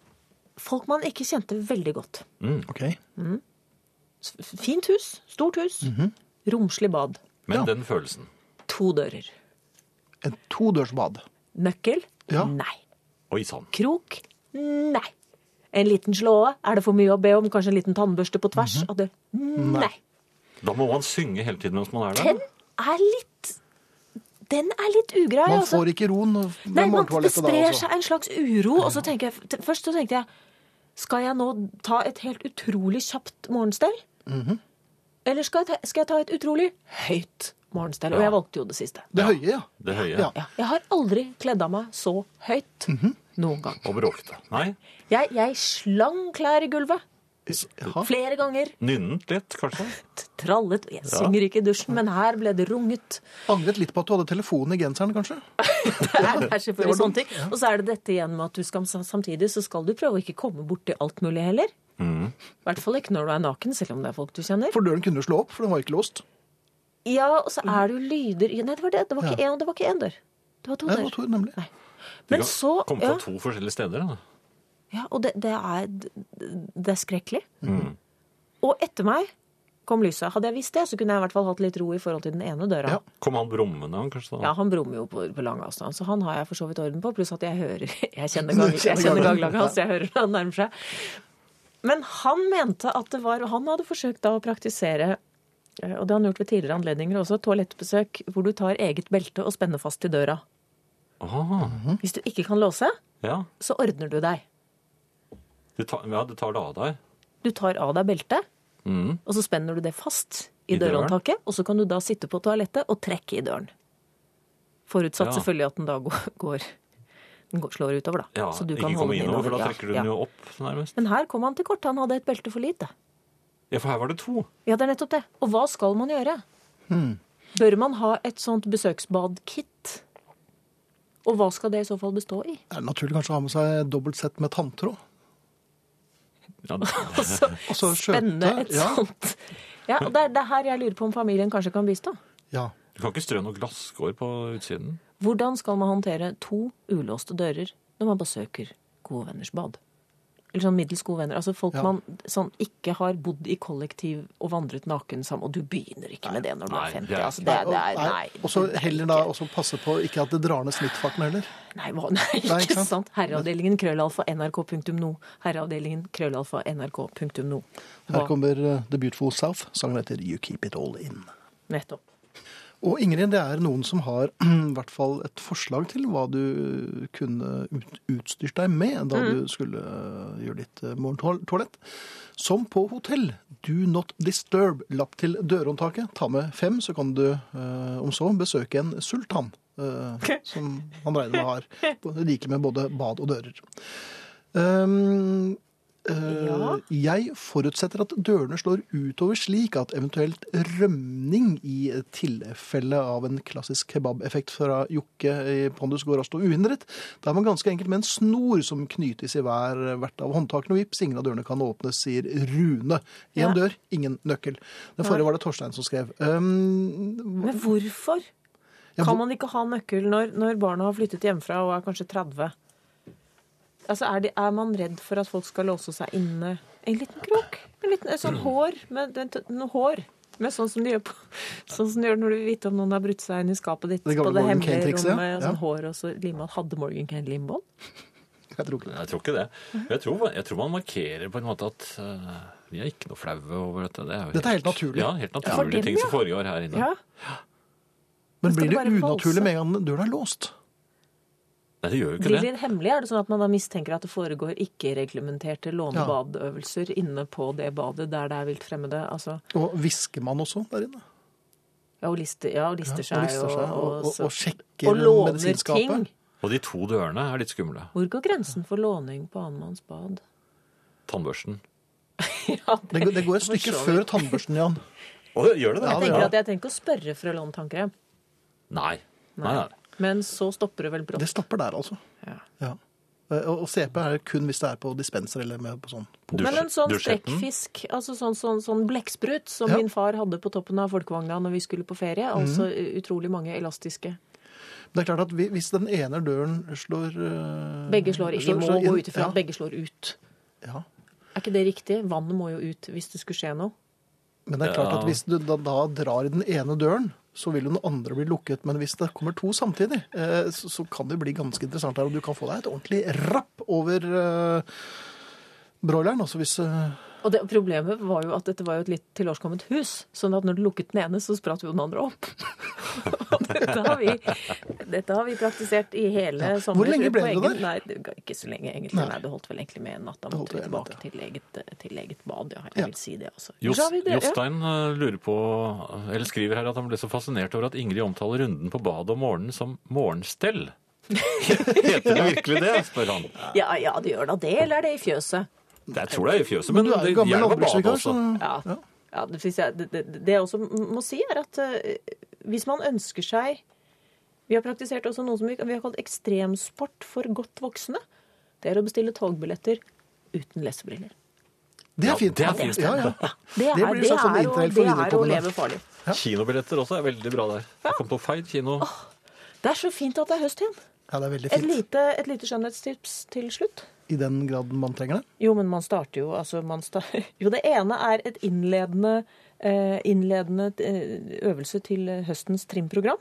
[SPEAKER 4] folk man ikke kjente veldig godt.
[SPEAKER 2] Ok.
[SPEAKER 4] S- Fint hus, stort hus,
[SPEAKER 2] Mhm.
[SPEAKER 4] romslig bad.
[SPEAKER 3] Men
[SPEAKER 2] Ja.
[SPEAKER 3] den følelsen.
[SPEAKER 4] To dører.
[SPEAKER 2] En todørsbad.
[SPEAKER 4] Nøkkel?
[SPEAKER 2] Ja.
[SPEAKER 4] Nei.
[SPEAKER 3] Oi sann.
[SPEAKER 4] Krok? Nei. En liten slåe? Er det for mye å be om? Kanskje en liten tannbørste på tvers?
[SPEAKER 2] Mhm.
[SPEAKER 4] av det? Nei.
[SPEAKER 3] Da må man synge hele tiden mens man er der.
[SPEAKER 4] Den er litt Den er litt ugrei,
[SPEAKER 2] Man
[SPEAKER 4] altså.
[SPEAKER 2] får ikke roen
[SPEAKER 4] Nei,
[SPEAKER 2] ved
[SPEAKER 4] man, det
[SPEAKER 2] morgentoalettet da altså.
[SPEAKER 4] sprer
[SPEAKER 2] også.
[SPEAKER 4] seg en slags uro, og så tenker jeg t- Først så tenkte jeg Skal jeg nå ta et helt utrolig kjapt morgenstell?
[SPEAKER 2] Mhm.
[SPEAKER 4] Eller skal jeg, ta, skal jeg ta et utrolig høyt morgenstell?
[SPEAKER 3] Ja.
[SPEAKER 4] Og jeg valgte jo det siste.
[SPEAKER 2] Det høye, ja.
[SPEAKER 3] Det høye.
[SPEAKER 2] Ja.
[SPEAKER 4] Ja, jeg har aldri kledd av meg så høyt
[SPEAKER 2] Mhm.
[SPEAKER 4] noen gang.
[SPEAKER 3] Og bråkete. Nei,
[SPEAKER 4] Jeg, jeg slang klær i gulvet
[SPEAKER 2] Jaha.
[SPEAKER 4] flere ganger.
[SPEAKER 3] nynnet litt, kanskje.
[SPEAKER 4] Trallet. Jeg synger ikke i dusjen, men her ble det runget.
[SPEAKER 2] Angret litt på at du hadde telefonen i genseren, kanskje?
[SPEAKER 4] Det er, det er selvfølgelig sånne ting. Og så er det dette igjen med at du skal samtidig så skal du prøve å ikke komme borti alt mulig heller.
[SPEAKER 2] Mm.
[SPEAKER 4] I hvert fall ikke når du er naken, selv om det er folk du kjenner.
[SPEAKER 2] For døren kunne du slå opp, for den var ikke låst.
[SPEAKER 4] Ja, og så er det jo lyder Nei, det var det. Det var ikke én, det var ikke én dør. Det var to
[SPEAKER 2] Nei, det var
[SPEAKER 4] dør.
[SPEAKER 2] to, nemlig.
[SPEAKER 3] Du kan
[SPEAKER 4] Men så
[SPEAKER 3] komme
[SPEAKER 4] ja,
[SPEAKER 3] fra to forskjellige steder. Da.
[SPEAKER 2] Mm.
[SPEAKER 4] ja, Og det, det, er, det er skrekkelig. Og etter meg kom lyset. Hadde jeg visst det, så kunne jeg i hvert fall hatt litt ro i forhold til den ene døra.
[SPEAKER 2] Ja.
[SPEAKER 3] Kom han brummende, han kanskje? da?
[SPEAKER 4] Ja, han brummer jo på, på lang avstand, så han har jeg for så vidt orden på. Pluss at jeg hører Jeg kjenner, gang, jeg
[SPEAKER 2] Kjenner
[SPEAKER 4] kjenner
[SPEAKER 2] gangen.
[SPEAKER 4] ganglaget hans, jeg hører når han nærmer seg. Men han mente at det var Han hadde forsøkt da å praktisere eh, og det har han gjort ved tidligere anledninger også, toalettbesøk hvor du tar eget belte og spenner fast til døra.
[SPEAKER 3] Ah,
[SPEAKER 2] Mm.
[SPEAKER 4] Hvis du ikke kan låse,
[SPEAKER 3] ja.
[SPEAKER 4] så ordner du deg.
[SPEAKER 3] Du tar, ja, du tar det av deg.
[SPEAKER 4] Du tar av deg beltet,
[SPEAKER 3] Mhm.
[SPEAKER 4] og så spenner du det fast i,
[SPEAKER 3] I døren.
[SPEAKER 4] dørhåndtaket. Og så kan du da sitte på toalettet og trekke i døren. Forutsatt
[SPEAKER 3] Ja.
[SPEAKER 4] selvfølgelig at den da går, går Den går, slår utover, da.
[SPEAKER 3] Ja,
[SPEAKER 4] så du kan
[SPEAKER 3] ikke
[SPEAKER 4] holde
[SPEAKER 3] komme
[SPEAKER 4] den
[SPEAKER 3] innover, for da
[SPEAKER 4] Ja,
[SPEAKER 3] trekker du
[SPEAKER 4] ja.
[SPEAKER 3] den jo opp, nærmest.
[SPEAKER 4] Men her kom han til kort. Han hadde et belte for lite.
[SPEAKER 3] Ja, for her var det to.
[SPEAKER 4] Ja, det er nettopp det. Og hva skal man gjøre?
[SPEAKER 2] Hmm.
[SPEAKER 4] Bør man ha et sånt besøksbadkit? Og hva skal det i så fall bestå i?
[SPEAKER 2] Det er naturlig kanskje å ha med seg dobbelt sett med tanntråd.
[SPEAKER 3] Ja,
[SPEAKER 4] Altså,
[SPEAKER 2] Og så
[SPEAKER 4] spenne
[SPEAKER 2] skjøte.
[SPEAKER 4] et
[SPEAKER 2] Ja,
[SPEAKER 4] sånt Ja, og det er, det er her jeg lurer på om familien kanskje kan bistå.
[SPEAKER 2] ja.
[SPEAKER 3] du kan ikke strø noe glasskår på utsiden.
[SPEAKER 4] Hvordan skal man håndtere to ulåste dører når man besøker gode venners bad? Eller sånn middels gode venner. Altså folk
[SPEAKER 2] Ja.
[SPEAKER 4] man sånn ikke har bodd i kollektiv og vandret naken sammen. Og du begynner ikke med det når du
[SPEAKER 3] Nei,
[SPEAKER 4] er 50.
[SPEAKER 3] det er-
[SPEAKER 4] altså, det, er- det er, nei,
[SPEAKER 2] Og så
[SPEAKER 4] det er
[SPEAKER 2] heller da også passe på ikke at det drar ned snittfarten heller.
[SPEAKER 4] Nei, hva, nei ikke,
[SPEAKER 2] Nei, ikke sant?
[SPEAKER 4] sant? Herreavdelingen krøllalfa nrk.no. Herreavdelingen krøllalfa nrk.no.
[SPEAKER 2] Her
[SPEAKER 4] Hva-
[SPEAKER 2] kommer eh, The Beautiful South. Sangen heter You Keep It All In.
[SPEAKER 4] Nettopp.
[SPEAKER 2] Og Ingrid, det er noen som har i hvert fall et forslag til hva du kunne ut- utstyrt deg med da du skulle øh, gjøre ditt øh, morgentoalett. Som på hotell. Do not disturb. Lapp til dørhåndtaket. Ta med fem, så kan du øh, om så besøke en sultan. øh, som han regner med har. Både- Like med både bad og dører. Ehm, øh, Jeg forutsetter at dørene slår utover slik at eventuelt rømning i tilfelle av en klassisk kebabeffekt fra Jokke i Pondus går av stå uhindret. Da er man ganske enkelt med en snor som knytes i hver hvert av håndtakene. og Vips, ingen av dørene kan åpnes, sier Rune. Én
[SPEAKER 4] Ja.
[SPEAKER 2] dør, ingen nøkkel. Den forrige var det Torstein som skrev. Ehm,
[SPEAKER 4] Men hvorfor
[SPEAKER 2] Ja,
[SPEAKER 4] kan
[SPEAKER 2] hvor-
[SPEAKER 4] man ikke ha nøkkel når, når barna har flyttet hjemmefra og er kanskje 30? Altså, er, de, er man redd for at folk skal låse seg inne? En liten krok? En liten en sånn hår med, den, noe hår? Med sånn som de gjør på, sånn som de gjør når du vil vite om noen har brutt seg inn i skapet ditt
[SPEAKER 2] Det
[SPEAKER 4] på
[SPEAKER 2] gamle
[SPEAKER 4] det
[SPEAKER 2] Morgan
[SPEAKER 4] hemmelige
[SPEAKER 2] Kane-trikset, ja.
[SPEAKER 4] rommet.
[SPEAKER 2] Ja.
[SPEAKER 4] Sånn hår og så limbånd. Hadde Morgan Kane limbånd?
[SPEAKER 2] jeg tror ikke det.
[SPEAKER 3] Jeg tror ikke det. Jeg tror, jeg tror man markerer på en måte at eh, vi er ikke noe flaue over dette. Det er jo
[SPEAKER 2] Dette er helt naturlig.
[SPEAKER 3] Ja, helt
[SPEAKER 4] For
[SPEAKER 3] naturlige
[SPEAKER 4] dem,
[SPEAKER 3] ting som
[SPEAKER 4] ja.
[SPEAKER 3] foregår her inne.
[SPEAKER 4] Ja.
[SPEAKER 2] Men
[SPEAKER 4] Skal
[SPEAKER 2] blir det
[SPEAKER 4] det bare valse?
[SPEAKER 2] unaturlig med en gang døren er låst?
[SPEAKER 3] Nei, det gjør jo ikke
[SPEAKER 4] Blir
[SPEAKER 3] det.
[SPEAKER 4] det hemmelig? Er det sånn at man da mistenker at det foregår ikke-reglementerte lånebadøvelser inne på det badet der det er vilt fremmede? Altså,
[SPEAKER 2] Og hvisker man også der inne?
[SPEAKER 4] ja, og lister, ja, og lister
[SPEAKER 2] og
[SPEAKER 4] seg
[SPEAKER 2] lister seg, og- og-
[SPEAKER 4] så-
[SPEAKER 2] og sjekker
[SPEAKER 4] og låner
[SPEAKER 2] medisinskapet.
[SPEAKER 4] ting.
[SPEAKER 3] Og de to dørene er litt skumle.
[SPEAKER 4] Hvor går grensen for låning på annenmanns bad?
[SPEAKER 3] Tannbørsten.
[SPEAKER 4] Ja,
[SPEAKER 2] Det, går- det går et
[SPEAKER 4] for
[SPEAKER 2] stykke
[SPEAKER 4] så vidt.
[SPEAKER 2] før tannbørsten, Jan.
[SPEAKER 3] Å, gjør det det?
[SPEAKER 2] Ja,
[SPEAKER 4] Jeg tenker at jeg trenger ikke å spørre for å låne tannkrem,
[SPEAKER 3] Nei. Nei, nei.
[SPEAKER 4] men så stopper det vel
[SPEAKER 2] Det
[SPEAKER 4] brått.
[SPEAKER 2] stopper der, altså.
[SPEAKER 4] Ja.
[SPEAKER 2] Ja. Eh, Og, og CP er kun hvis det er på dispenser eller med på sånn.
[SPEAKER 4] Men en sånn
[SPEAKER 3] dusjetten.
[SPEAKER 4] strekkfisk, altså sånn, sånn, sånn blekksprut, som
[SPEAKER 2] Ja. Mhm.
[SPEAKER 4] min far hadde på toppen av folkevogna når vi skulle på ferie, altså utrolig mange elastiske
[SPEAKER 2] Men det er klart at vi- hvis den ene døren slår eh,
[SPEAKER 4] Begge slår inn. Vi må
[SPEAKER 2] slår
[SPEAKER 4] gå ut ifra
[SPEAKER 2] ja,
[SPEAKER 4] at begge slår ut.
[SPEAKER 2] ja.
[SPEAKER 4] Er ikke det riktig? Vannet må jo ut hvis det skulle skje noe.
[SPEAKER 2] Men det er klart
[SPEAKER 3] Ja.
[SPEAKER 2] at hvis du da, da drar i den ene døren, så vil jo den andre bli lukket. Men hvis det kommer to samtidig, eh, så, så kan det bli ganske interessant her. Og du kan få deg et ordentlig rapp over eh, broileren. Også hvis eh,
[SPEAKER 4] Og det, Problemet var jo at dette var jo et litt tilårskommet hus, sånn at når du lukket den ene, så spratt jo den andre opp. Og dette, har vi, dette har vi praktisert i hele
[SPEAKER 2] Ja. Hvor
[SPEAKER 4] sommer.
[SPEAKER 2] lenge ble
[SPEAKER 4] På
[SPEAKER 2] det
[SPEAKER 4] egen-
[SPEAKER 2] der?
[SPEAKER 4] Nei, det ga ikke så lenge egentlig. Nei.
[SPEAKER 2] Nei.
[SPEAKER 4] Det holdt vel egentlig med en natt. Da
[SPEAKER 2] Det holdt
[SPEAKER 4] måtte vi
[SPEAKER 2] vel en natt,
[SPEAKER 4] tilbake til eget, til eget bad, ja. Jeg
[SPEAKER 2] Ja.
[SPEAKER 4] vil si det også.
[SPEAKER 3] Jos-
[SPEAKER 4] Så har vi det, ja.
[SPEAKER 3] Jostein eh, lurer på, eller skriver her at han ble så fascinert over at Ingrid omtaler runden på badet om morgenen som morgenstell. Heter det virkelig det, spør han.
[SPEAKER 4] Ja, ja, det gjør da det, eller er det i fjøset?
[SPEAKER 3] Jeg tror det er i fjøset,
[SPEAKER 2] Men
[SPEAKER 3] men
[SPEAKER 2] du er
[SPEAKER 3] det
[SPEAKER 2] jo gammel
[SPEAKER 3] gjelder på badet
[SPEAKER 2] landbruksvikar,
[SPEAKER 3] også.
[SPEAKER 2] så
[SPEAKER 4] Ja. ja det, synes jeg, det, det, det jeg også må si, er at eh, hvis man ønsker seg Vi har praktisert også noe som vi, vi har kalt ekstremsport for godt voksne. Det er å bestille togbilletter uten lesebriller.
[SPEAKER 2] Det
[SPEAKER 3] Ja,
[SPEAKER 2] er fint.
[SPEAKER 3] det er fint.
[SPEAKER 2] Ja, ja.
[SPEAKER 4] Det er, det
[SPEAKER 2] blir sånn som
[SPEAKER 4] er, å,
[SPEAKER 2] interrail for
[SPEAKER 4] det er å
[SPEAKER 2] viderekommende.
[SPEAKER 4] leve farlig.
[SPEAKER 3] Kinobilletter også er veldig bra der. Jeg kom på feil kino.
[SPEAKER 4] Det er så fint at det er høst igjen.
[SPEAKER 2] Ja, det er veldig
[SPEAKER 4] Et
[SPEAKER 2] fint.
[SPEAKER 4] lite, et lite skjønnhetstips til slutt.
[SPEAKER 2] I den grad man trenger det.
[SPEAKER 4] Jo, men man starter jo altså man sta- Jo, det ene er et innledende eh, innledende eh, øvelse til eh, høstens trimprogram.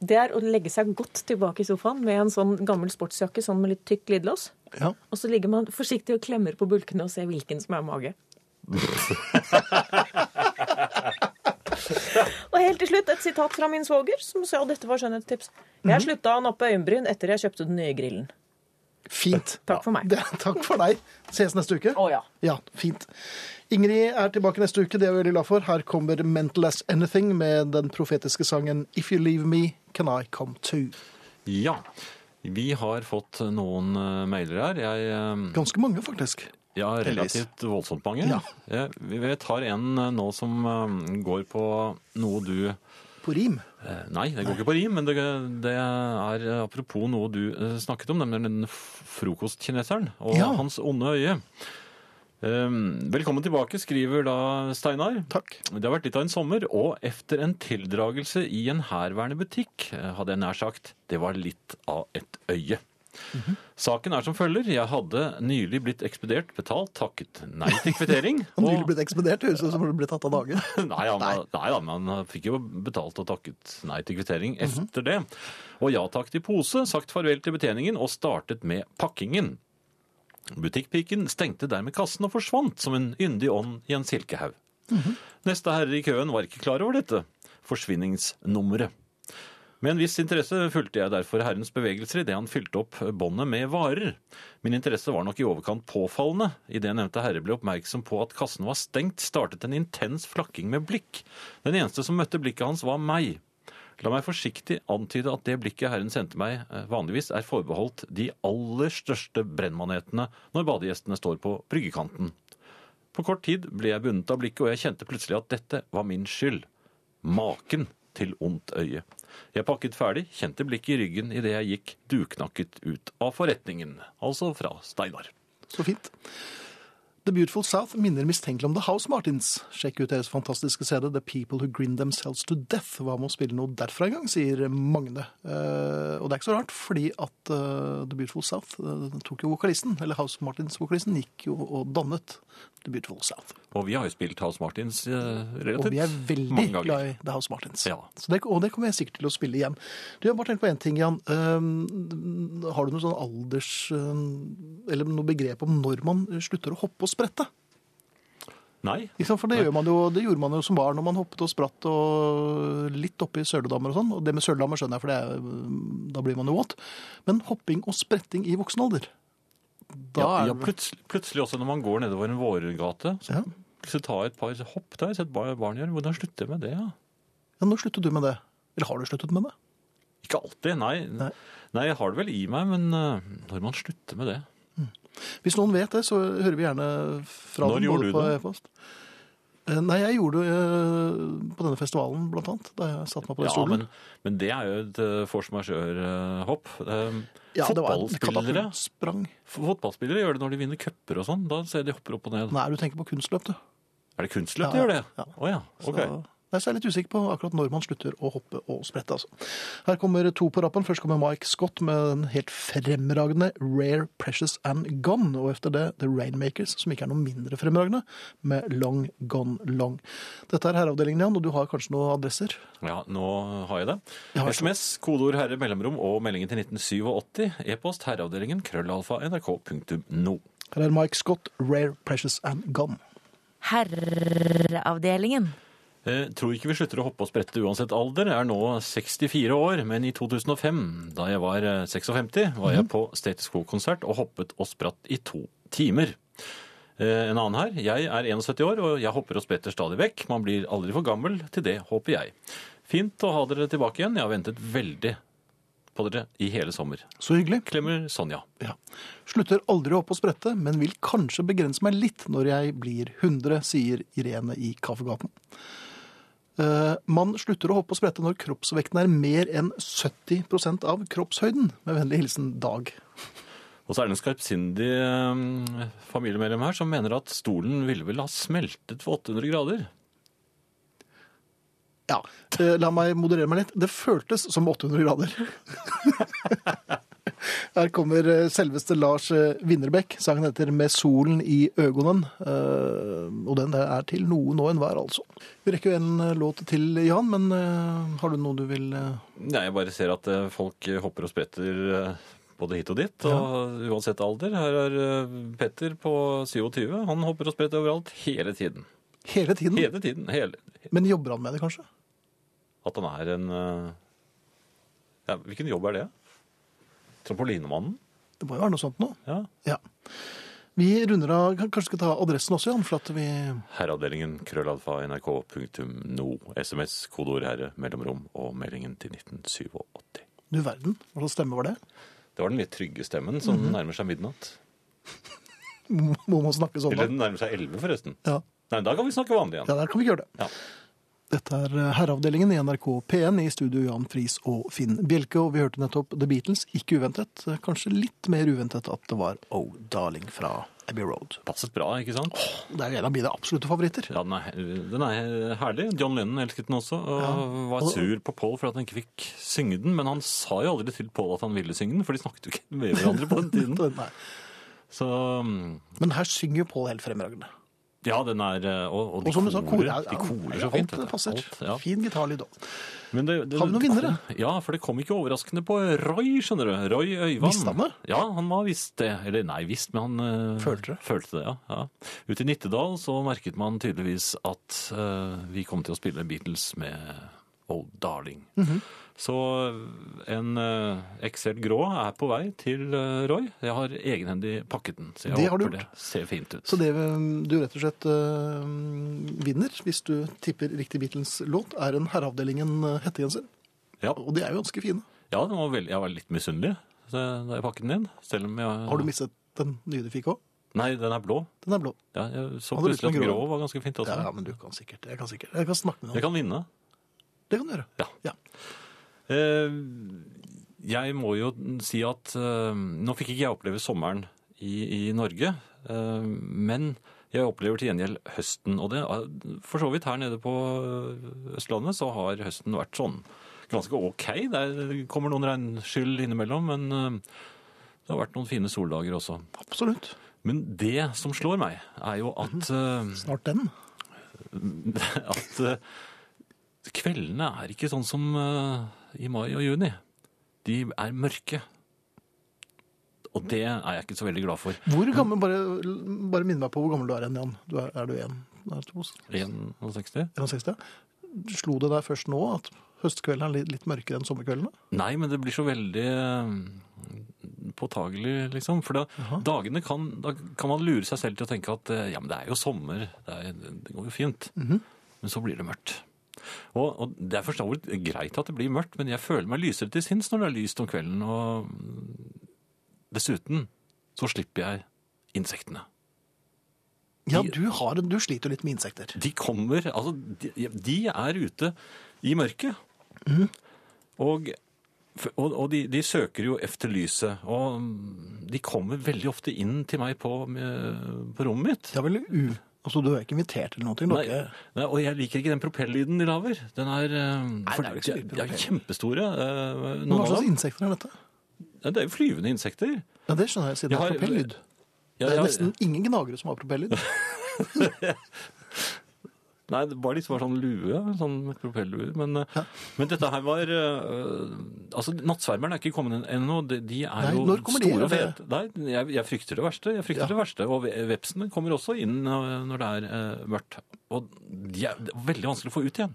[SPEAKER 4] Det er å legge seg godt tilbake i sofaen med en sånn gammel sportsjakke sånn med litt tykk glidelås.
[SPEAKER 2] Ja.
[SPEAKER 4] Og så ligger man forsiktig og klemmer på bulkene og ser hvilken som er mage. og helt til slutt et sitat fra min svoger, som sa dette var skjønnhetstips. Jeg slutta å nappe øyenbryn etter jeg kjøpte den nye grillen.
[SPEAKER 2] Fint.
[SPEAKER 4] Takk for meg.
[SPEAKER 2] Det, takk for deg. Ses neste uke.
[SPEAKER 4] Å ja.
[SPEAKER 2] Ja, fint. Ingrid er tilbake neste uke, det er vi veldig glad for. Her kommer 'Mental As Anything' med den profetiske sangen 'If You Leave Me Can I Come Too'.
[SPEAKER 3] Ja. Vi har fått noen eh, mailer her. Jeg eh,
[SPEAKER 2] Ganske mange, faktisk.
[SPEAKER 3] Ja, relativt voldsomt mange.
[SPEAKER 2] Ja.
[SPEAKER 3] Eh, Vi vi tar en eh, nå som eh, går på noe du
[SPEAKER 2] På rim.
[SPEAKER 3] eh, Nei, det går ikke på rim, men det, det er eh, apropos noe du eh, snakket om, nemlig den f- frokostkineseren og
[SPEAKER 2] Ja.
[SPEAKER 3] hans onde øye. Eh, Velkommen tilbake, skriver da Steinar.
[SPEAKER 2] Takk.
[SPEAKER 3] Det har vært litt av en sommer, og efter en tildragelse i en herværende butikk, eh, hadde jeg nær sagt, det var litt av et øye.
[SPEAKER 2] Mhm.
[SPEAKER 3] Saken er som følger. Jeg hadde nylig blitt ekspedert, betalt, takket nei til kvittering.
[SPEAKER 2] Han nylig blitt ekspedert, høres ut som han ble tatt av dage.
[SPEAKER 3] Nei, han, nei. da, men han fikk jo betalt og takket nei til kvittering etter det. Og ja takk til pose, sagt farvel til betjeningen og startet med pakkingen. Butikkpiken stengte dermed kassen og forsvant som en yndig ånd i en silkehaug. Neste herre i køen var ikke klar over dette forsvinningsnummeret. Med en viss interesse fulgte jeg derfor herrens bevegelser idet han fylte opp båndet med varer. Min interesse var nok i overkant påfallende. Idet nevnte herre ble oppmerksom på at kassen var stengt, startet en intens flakking med blikk. Den eneste som møtte blikket hans, var meg. La meg forsiktig antyde at det blikket herren sendte meg, eh, vanligvis er forbeholdt de aller største brennmanetene når badegjestene står på bryggekanten. På kort tid ble jeg bundet av blikket, og jeg kjente plutselig at dette var min skyld. Maken til ondt øye. Jeg pakket ferdig, kjente blikket i ryggen idet jeg gikk duknakket ut av forretningen. Altså fra Steinar.
[SPEAKER 2] Så fint. The Beautiful South minner mistenkelig om The House Martins. Sjekk ut deres fantastiske CD The People Who Grin Themselves to Death. Hva med å spille noe derfra en gang, sier Magne. Eh, og det er ikke så rart, fordi at eh, The Beautiful South eh, tok jo vokalisten, eller House Martins-vokalisten gikk jo og dannet The Beautiful South.
[SPEAKER 3] Og vi har jo spilt House Martins eh,
[SPEAKER 2] Og
[SPEAKER 3] relativt
[SPEAKER 2] vi er veldig
[SPEAKER 3] mange ganger.
[SPEAKER 2] glad i The House Martins.
[SPEAKER 3] Ja.
[SPEAKER 2] Så det, og det kommer jeg sikkert til å spille igjen. Du, jeg har bare tenkt på én ting, Jan. Ehm, har du noe sånn alders... ehm, eller noe begrep om når man slutter å hoppe og sprette?
[SPEAKER 3] Nei,
[SPEAKER 2] Ikke sant? For det, gjør man jo, det gjorde man jo som barn når man hoppet og spratt og litt oppi søledammer og sånn. Og det med søledammer skjønner jeg, for det er, mm, da blir man jo våt. Men hopping og spretting i voksen alder da
[SPEAKER 3] ja, ja,
[SPEAKER 2] er det-
[SPEAKER 3] plutselig, plutselig også når man går nedover en vårgate, så
[SPEAKER 2] Ja.
[SPEAKER 3] plutselig tar jeg et par hopp. Det har jeg sett bar- barn gjøre. Hvordan slutter jeg med det? Ja?
[SPEAKER 2] ja, Når sluttet du med det? Eller har du sluttet med det?
[SPEAKER 3] Ikke alltid, nei.
[SPEAKER 2] Nei.
[SPEAKER 3] nei. jeg har det vel i meg, men eh, når man slutter med det
[SPEAKER 2] Hvis noen vet det, så hører vi gjerne fra
[SPEAKER 3] Når
[SPEAKER 2] dem,
[SPEAKER 3] gjorde du
[SPEAKER 2] på
[SPEAKER 3] det?
[SPEAKER 2] e-post. Eh, Nei, jeg gjorde det eh, på denne festivalen, blant annet, da jeg satte meg på den
[SPEAKER 3] Ja,
[SPEAKER 2] stolen.
[SPEAKER 3] men, men det er jo et eh, force majeure-hopp. Um,
[SPEAKER 2] Ja, det var en
[SPEAKER 3] fotballspillere,
[SPEAKER 2] katapultsprang.
[SPEAKER 3] fotballspillere gjør det når de vinner cuper og sånn. Da ser de hopper opp og ned.
[SPEAKER 2] Nei, du tenker på kunstløp, du.
[SPEAKER 3] Er det kunstløp
[SPEAKER 2] Ja,
[SPEAKER 3] de gjør det?
[SPEAKER 2] ja.
[SPEAKER 3] Å ja.
[SPEAKER 2] Så-
[SPEAKER 3] Ok.
[SPEAKER 2] Nei, så jeg er litt usikker på akkurat når man slutter å hoppe og sprette. Altså. Her kommer to på rappen. Først kommer Mike Scott med den helt fremragende Rare, Precious and Gone. Og etter det The Rainmakers, som ikke er noe mindre fremragende, med Long Gone Long. Dette er herreavdelingen, Jan, og du har kanskje noen adresser?
[SPEAKER 3] Ja, nå har jeg det.
[SPEAKER 2] Ja, vær så
[SPEAKER 3] SMS, kodeord herre mellomrom og meldingen til 1987. E-post herreavdelingen krøllalfa nrk.no.
[SPEAKER 2] Her er Mike Scott, Rare, Precious and Gone.
[SPEAKER 1] Herreavdelingen.
[SPEAKER 3] Eh, tror ikke vi slutter å hoppe og sprette uansett alder. Jeg er nå 64 år, men i 2005, da jeg var eh, 56, var jeg på Status Quo-konsert og hoppet og spratt i to timer. Eh, en annen her. Jeg er 71 år, og jeg hopper og spretter stadig vekk. Man blir aldri for gammel til det, håper jeg. Fint å ha dere tilbake igjen. Jeg har ventet veldig på dere i hele sommer.
[SPEAKER 2] Så hyggelig.
[SPEAKER 3] Klemmer Sonja.
[SPEAKER 2] Ja. Slutter aldri å hoppe og sprette, men vil kanskje begrense meg litt når jeg blir 100, sier Irene i Kaffegaten. Eh, man slutter å hoppe og sprette når kroppsvekten er mer enn 70 av kroppshøyden. Med vennlig hilsen Dag.
[SPEAKER 3] Og så er det en skarpsindig eh, familiemedlem her som mener at stolen ville vel ha smeltet for 800 grader.
[SPEAKER 2] Ja, eh, La meg moderere meg litt. Det føltes som 800 grader. Her kommer eh, selveste Lars eh, Winnerbäck. Sangen heter 'Med solen i øgonen'. Eh, Og den er til noen og enhver, altså. Vi rekker jo en eh, låt til, Jan, men eh, har du noe du vil eh,
[SPEAKER 3] Nei, jeg bare ser at eh, folk eh, hopper og spretter eh, både hit og dit, og uansett alder. Her er eh, Petter på 27. Han hopper og spretter overalt hele tiden.
[SPEAKER 2] Hele tiden?
[SPEAKER 3] Hele tiden. Hele.
[SPEAKER 2] Men jobber han med det, kanskje?
[SPEAKER 3] At han er en eh, ja, Hvilken jobb er det? Trampolinemannen?
[SPEAKER 2] Det må jo være noe sånt nå.
[SPEAKER 3] Ja.
[SPEAKER 2] Ja. Vi runder av kan- Kanskje skal ta adressen også, Jan, for at vi
[SPEAKER 3] Herreavdelingen krøllalfa nrk.no. SMS, kodeord herre, mellomrom og meldingen til 1987.
[SPEAKER 2] Du verden, hva slags stemme var det?
[SPEAKER 3] Det var den litt trygge stemmen som
[SPEAKER 2] Mhm.
[SPEAKER 3] nærmer seg midnatt.
[SPEAKER 2] Må må man snakke sånn da?
[SPEAKER 3] Eller den nærmer seg 11, forresten.
[SPEAKER 2] Ja.
[SPEAKER 3] Nei, da kan vi snakke vanlig igjen.
[SPEAKER 2] ja, der kan vi ikke gjøre det.
[SPEAKER 3] Ja.
[SPEAKER 2] Dette er eh, Herreavdelingen i NRK P1 i studio Jan Friis og Finn Bjelke. Og vi hørte nettopp The Beatles, ikke uventet. eh, Kanskje litt mer uventet at det var Oh Darling fra Abbey Road.
[SPEAKER 3] Passet bra, ikke sant?
[SPEAKER 2] Det er jo en av mine absolutte favoritter.
[SPEAKER 3] Ja, den er, den er herlig. John Lennon elsket den også, og var sur på Paul for at han ikke fikk synge den. Men han sa jo aldri til Paul at han ville synge den, for de snakket jo ikke med hverandre på den tiden.
[SPEAKER 2] Nei.
[SPEAKER 3] Så mm,
[SPEAKER 2] Men her synger jo Paul helt fremragende.
[SPEAKER 3] ja, den er eh, Og, og de
[SPEAKER 2] Og som du sa,
[SPEAKER 3] korer,
[SPEAKER 2] koret
[SPEAKER 3] de korer så fint. vet
[SPEAKER 2] Alt
[SPEAKER 3] du.
[SPEAKER 2] passer.
[SPEAKER 3] Alt, ja.
[SPEAKER 2] Fin gitarlyd òg.
[SPEAKER 3] Men det, det,
[SPEAKER 2] Har vi noen vinnere?
[SPEAKER 3] Kom, ja, for det kom ikke overraskende på Roy, skjønner du. Roy Øyvand.
[SPEAKER 2] Visste han det?
[SPEAKER 3] Ja, han var visst det. Eller nei, visst, men han eh,
[SPEAKER 2] Følte det.
[SPEAKER 3] Følte det, ja. ja. Ute i Nittedal så merket man tydeligvis at eh, vi kom til å spille Beatles med Old Darling.
[SPEAKER 2] Mhm.
[SPEAKER 3] Så en eh, XL grå er på vei til eh, Roy. Jeg har egenhendig pakket den, så jeg
[SPEAKER 2] Det har du
[SPEAKER 3] håper det
[SPEAKER 2] gjort.
[SPEAKER 3] ser fint ut.
[SPEAKER 2] Så det um, du rett og slett uh, vinner hvis du tipper riktig Beatles-låt, er en Herreavdelingen-hettegenser.
[SPEAKER 3] Ja.
[SPEAKER 2] Og de er jo ganske fine.
[SPEAKER 3] Ja, den var veldig, jeg var litt misunnelig så da jeg pakket den inn. Selv om jeg
[SPEAKER 2] Har du mistet den nye du fikk òg?
[SPEAKER 3] Nei, den er blå.
[SPEAKER 2] Den er blå.
[SPEAKER 3] Ja, jeg så
[SPEAKER 2] Hadde du lyst på
[SPEAKER 3] plutselig at
[SPEAKER 2] en grå?
[SPEAKER 3] grå var ganske fint også.
[SPEAKER 2] Ja, ja, men du kan sikkert. Jeg kan sikkert. Jeg kan snakke med
[SPEAKER 3] Jeg
[SPEAKER 2] noen.
[SPEAKER 3] kan vinne.
[SPEAKER 2] Det kan du gjøre.
[SPEAKER 3] Ja.
[SPEAKER 2] Ja.
[SPEAKER 3] Eh, jeg må jo si at eh, nå fikk ikke jeg oppleve sommeren i, i Norge, eh, men jeg opplever til gjengjeld høsten. Og det, er- for så vidt her nede på eh, Østlandet så har høsten vært sånn ganske ok. Der kommer noen regnskyll innimellom, men eh, det har vært noen fine soldager også.
[SPEAKER 2] Absolutt.
[SPEAKER 3] Men det som slår meg, er jo at eh,
[SPEAKER 2] Snart den.
[SPEAKER 3] at eh, kveldene er ikke sånn som eh, i mai og juni. De er mørke. Og det er jeg ikke så veldig glad for.
[SPEAKER 2] Hvor gammel, bare, bare minn meg på hvor gammel du er igjen, Jan. Du er, er du en? Er du to?
[SPEAKER 3] 61?
[SPEAKER 2] 61? Slo det deg først nå at høstkvelden er litt, litt mørkere enn sommerkveldene?
[SPEAKER 3] Nei, men det blir så veldig eh, påtagelig, liksom. For da, dagene kan, da kan man lure seg selv til å tenke at eh, ja, men det er jo sommer, det, er, det går jo fint. Men så blir det mørkt. Og, og det er forståelig greit at det blir mørkt, men jeg føler meg lysere til sinns når det er lyst om kvelden. Og dessuten så slipper jeg insektene.
[SPEAKER 2] Ja, du, har, en- du sliter jo litt med insekter.
[SPEAKER 3] De kommer Altså, de, de er ute i mørket. Og, og, og de, de søker jo efter lyset. Og mm, de kommer veldig ofte inn til meg på, på rommet mitt.
[SPEAKER 2] Ja, vel, u... Altså, du er ikke invitert eller noe til
[SPEAKER 3] Nei,
[SPEAKER 2] noe?
[SPEAKER 3] nei, og jeg liker ikke den propellyden de lager. Den er, eh, for
[SPEAKER 2] det er jo ikke så mye
[SPEAKER 3] de, de er
[SPEAKER 2] propell.
[SPEAKER 3] kjempestore. eh,
[SPEAKER 2] Men
[SPEAKER 3] Noen
[SPEAKER 2] hva
[SPEAKER 3] av
[SPEAKER 2] slags
[SPEAKER 3] dem.
[SPEAKER 2] insekter er dette?
[SPEAKER 3] Ja, Det er jo flyvende insekter.
[SPEAKER 2] Ja, Det skjønner jeg, siden det
[SPEAKER 3] Jeg
[SPEAKER 2] er
[SPEAKER 3] har-
[SPEAKER 2] propellyd.
[SPEAKER 3] Ja,
[SPEAKER 2] Det er
[SPEAKER 3] ja,
[SPEAKER 2] nesten ingen gnagere som har propellyd.
[SPEAKER 3] Nei, det var liksom bare sånn lue, sånn med propellue. Men, eh, men dette her var øh, Altså, nattsvermerne er ikke kommet inn ennå. De, de er
[SPEAKER 2] Nei,
[SPEAKER 3] jo
[SPEAKER 2] når kommer de?
[SPEAKER 3] store og
[SPEAKER 2] Er det-
[SPEAKER 3] fete. Nei, jeg, jeg frykter det verste. jeg frykter
[SPEAKER 2] Ja.
[SPEAKER 3] det verste. Og ve- vepsene kommer også inn øh, når det er øh, mørkt. Og de er, det er veldig vanskelig å få ut igjen.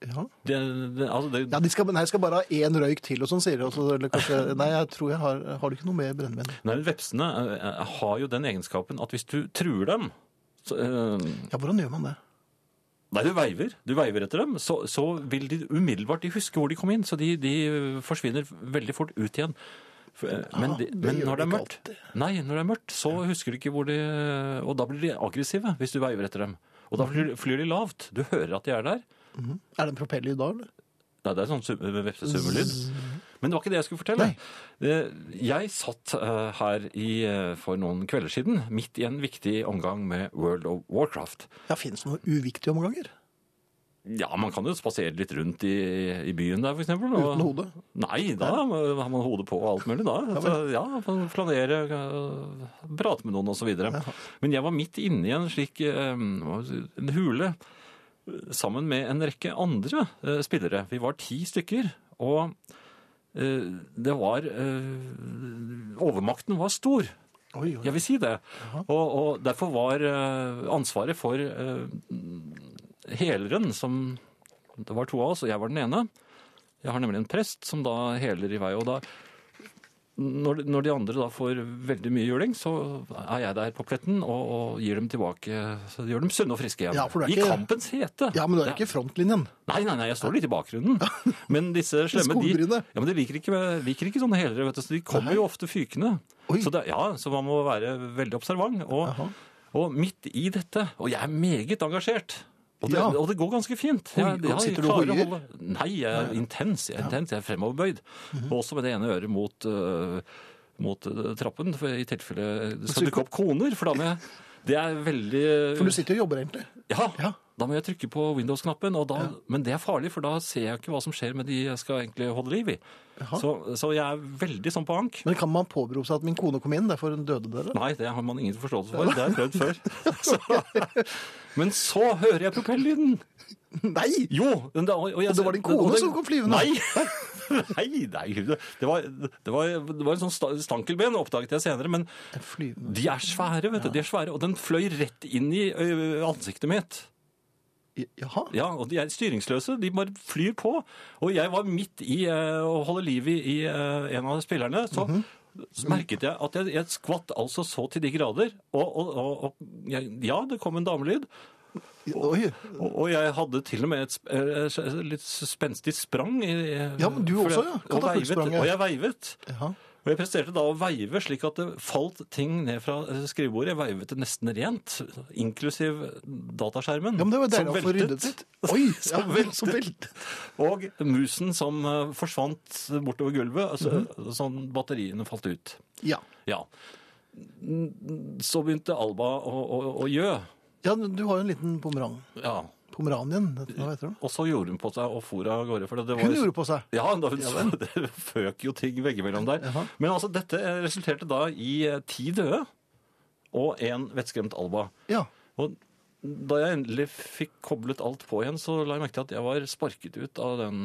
[SPEAKER 2] Ja.
[SPEAKER 3] Det, det, altså, det,
[SPEAKER 2] Ja, de skal, nei, jeg skal bare ha én røyk til, og sånn sier de. og så- Eller kanskje, nei, jeg tror jeg har Har du ikke noe mer brennevin?
[SPEAKER 3] Nei, men Vepsene øh, har jo den egenskapen at hvis du truer dem så, øh,
[SPEAKER 2] Ja, hvordan gjør man det?
[SPEAKER 3] Nei, du veiver. Du veiver etter dem. Så, så vil de umiddelbart de huske hvor de kom inn, så de, de forsvinner veldig fort ut igjen. For, eh, Men,
[SPEAKER 2] Ah,
[SPEAKER 3] de,
[SPEAKER 2] det
[SPEAKER 3] men
[SPEAKER 2] gjør
[SPEAKER 3] når
[SPEAKER 2] de
[SPEAKER 3] det er
[SPEAKER 2] ikke
[SPEAKER 3] mørkt, nei, når det er mørkt, så husker de ikke hvor de Og da blir de aggressive hvis du veiver etter dem. Og da flyr, flyr de lavt. Du hører at de er der.
[SPEAKER 2] Er det en propellyd da, eller?
[SPEAKER 3] Nei, det er sånn sum- vepsesummelyd. Men det var ikke det jeg skulle fortelle. Eh, Jeg satt eh, her i, eh, for noen kvelder siden midt i en viktig omgang med World of Warcraft.
[SPEAKER 2] Ja, finnes det noen uviktige omganger?
[SPEAKER 3] Ja, man kan jo spasere litt rundt i, i byen der, for eksempel. og-
[SPEAKER 2] Uten hode?
[SPEAKER 3] Nei, da har man hodet på og alt mulig da. Så, ja, man flanere, øh, prate med noen og så videre. Men jeg var midt inne i en slik øh, hva skal jeg si, en hule øh, sammen med en rekke andre øh, spillere. Vi var ti stykker, og øh, det var øh, Overmakten var stor.
[SPEAKER 2] Oi, oi.
[SPEAKER 3] Jeg vil si det. Og, og derfor var eh, ansvaret for eh, heleren, som det var to av oss, og jeg var den ene. Jeg har nemlig en prest som da heler i vei. og da når, når de andre da får veldig mye juling, så er jeg der på pletten og, og gir dem tilbake. Så gjør dem sunne og friske igjen.
[SPEAKER 2] Ja, for det er
[SPEAKER 3] I
[SPEAKER 2] ikke-
[SPEAKER 3] kampens hete.
[SPEAKER 2] Ja, men du er
[SPEAKER 3] Det-
[SPEAKER 2] ikke i frontlinjen.
[SPEAKER 3] Nei, nei, nei, jeg står litt i bakgrunnen. Men disse slemme, de,
[SPEAKER 2] skogbrynet.
[SPEAKER 3] ja, men de liker, ikke, liker ikke sånne helere, vet du, så de kommer jo ofte fykende.
[SPEAKER 2] Oi.
[SPEAKER 3] Så, det, ja, så man må være veldig observant.
[SPEAKER 2] Jaha.
[SPEAKER 3] Og, og midt i dette, og jeg er meget engasjert, og det,
[SPEAKER 2] Ja.
[SPEAKER 3] og det går ganske fint.
[SPEAKER 2] Oi,
[SPEAKER 3] Jeg- jeg
[SPEAKER 2] sitter du
[SPEAKER 3] klarer
[SPEAKER 2] og
[SPEAKER 3] å
[SPEAKER 2] hoier?
[SPEAKER 3] holde- Nei, jeg er intens, jeg er, intens, jeg er fremoverbøyd.
[SPEAKER 2] Mhm.
[SPEAKER 3] Også med det ene øret mot, øh, mot øh, trappen, for i tilfelle det skal dukke opp koner, for da må jeg... Det er veldig...
[SPEAKER 2] For du sitter jo og jobber, egentlig.
[SPEAKER 3] Ja,
[SPEAKER 2] Ja.
[SPEAKER 3] da må jeg trykke på Windows-knappen, og da, men det er farlig, for da ser jeg ikke hva som skjer med de jeg skal egentlig holde liv i. Så, så jeg er veldig sånn på ank.
[SPEAKER 2] Men kan man påberope seg at min kone kom inn, derfor hun døde dere?
[SPEAKER 3] Nei, det har man ingen forståelse for. Det har jeg prøvd før. Så, men så hører jeg propellyden!
[SPEAKER 2] Nei!
[SPEAKER 3] Jo! Den, og, jeg,
[SPEAKER 2] Og det var din kone
[SPEAKER 3] og den-
[SPEAKER 2] som kom flyvende?
[SPEAKER 3] Nei! Nei, nei. Det, var, det, var, det var en sånn sta- stankelben, oppdaget jeg senere. Men
[SPEAKER 2] En flyvende
[SPEAKER 3] de er svære, vet du. De er svære, og den fløy rett inn i ø, ansiktet mitt.
[SPEAKER 2] Jaha.
[SPEAKER 3] Ja, og de er styringsløse. De bare flyr på. Og jeg var midt i eh, å holde liv i, i eh, en av spillerne. Så
[SPEAKER 2] Mhm.
[SPEAKER 3] så merket jeg at jeg, jeg skvatt altså så til de grader. Og, og, og, og jeg, ja, det kom en damelyd.
[SPEAKER 2] Oi.
[SPEAKER 3] Og, og jeg hadde til og med et sp- eh, s- litt spenstig sprang. I, eh,
[SPEAKER 2] Ja, men du
[SPEAKER 3] for
[SPEAKER 2] også,
[SPEAKER 3] jeg-
[SPEAKER 2] ja.
[SPEAKER 3] Og veivet.
[SPEAKER 2] Katapultspranget.
[SPEAKER 3] Og jeg veivet.
[SPEAKER 2] Jaha.
[SPEAKER 3] Og jeg presterte da å veive slik at det falt ting ned fra eh, skrivebordet. Jeg veivet det nesten rent, inklusiv dataskjermen.
[SPEAKER 2] Ja, men det var deilig
[SPEAKER 3] som
[SPEAKER 2] å få
[SPEAKER 3] veltet.
[SPEAKER 2] ryddet litt. Oi, ja,
[SPEAKER 3] Som veltet.
[SPEAKER 2] så veltet.
[SPEAKER 3] Og musen som eh, forsvant bortover gulvet, altså,
[SPEAKER 2] Mhm.
[SPEAKER 3] sånn batteriene falt ut.
[SPEAKER 2] Ja.
[SPEAKER 3] Ja. Mm, Så begynte Alba å, å, å gjø.
[SPEAKER 2] ja, du har jo en liten pomeran.
[SPEAKER 3] Ja.
[SPEAKER 2] Pomeranien, hva heter den?
[SPEAKER 3] Og så gjorde hun på seg og for av gårde. For det var,
[SPEAKER 2] Hun gjorde på seg.
[SPEAKER 3] Ja, da hun det føk jo ting veggimellom der.
[SPEAKER 2] Jaha.
[SPEAKER 3] Men altså, dette resulterte da i eh, ti døde og én vettskremt Alba.
[SPEAKER 2] Ja.
[SPEAKER 3] Og da jeg endelig fikk koblet alt på igjen, så la jeg merke til at jeg var sparket ut av den,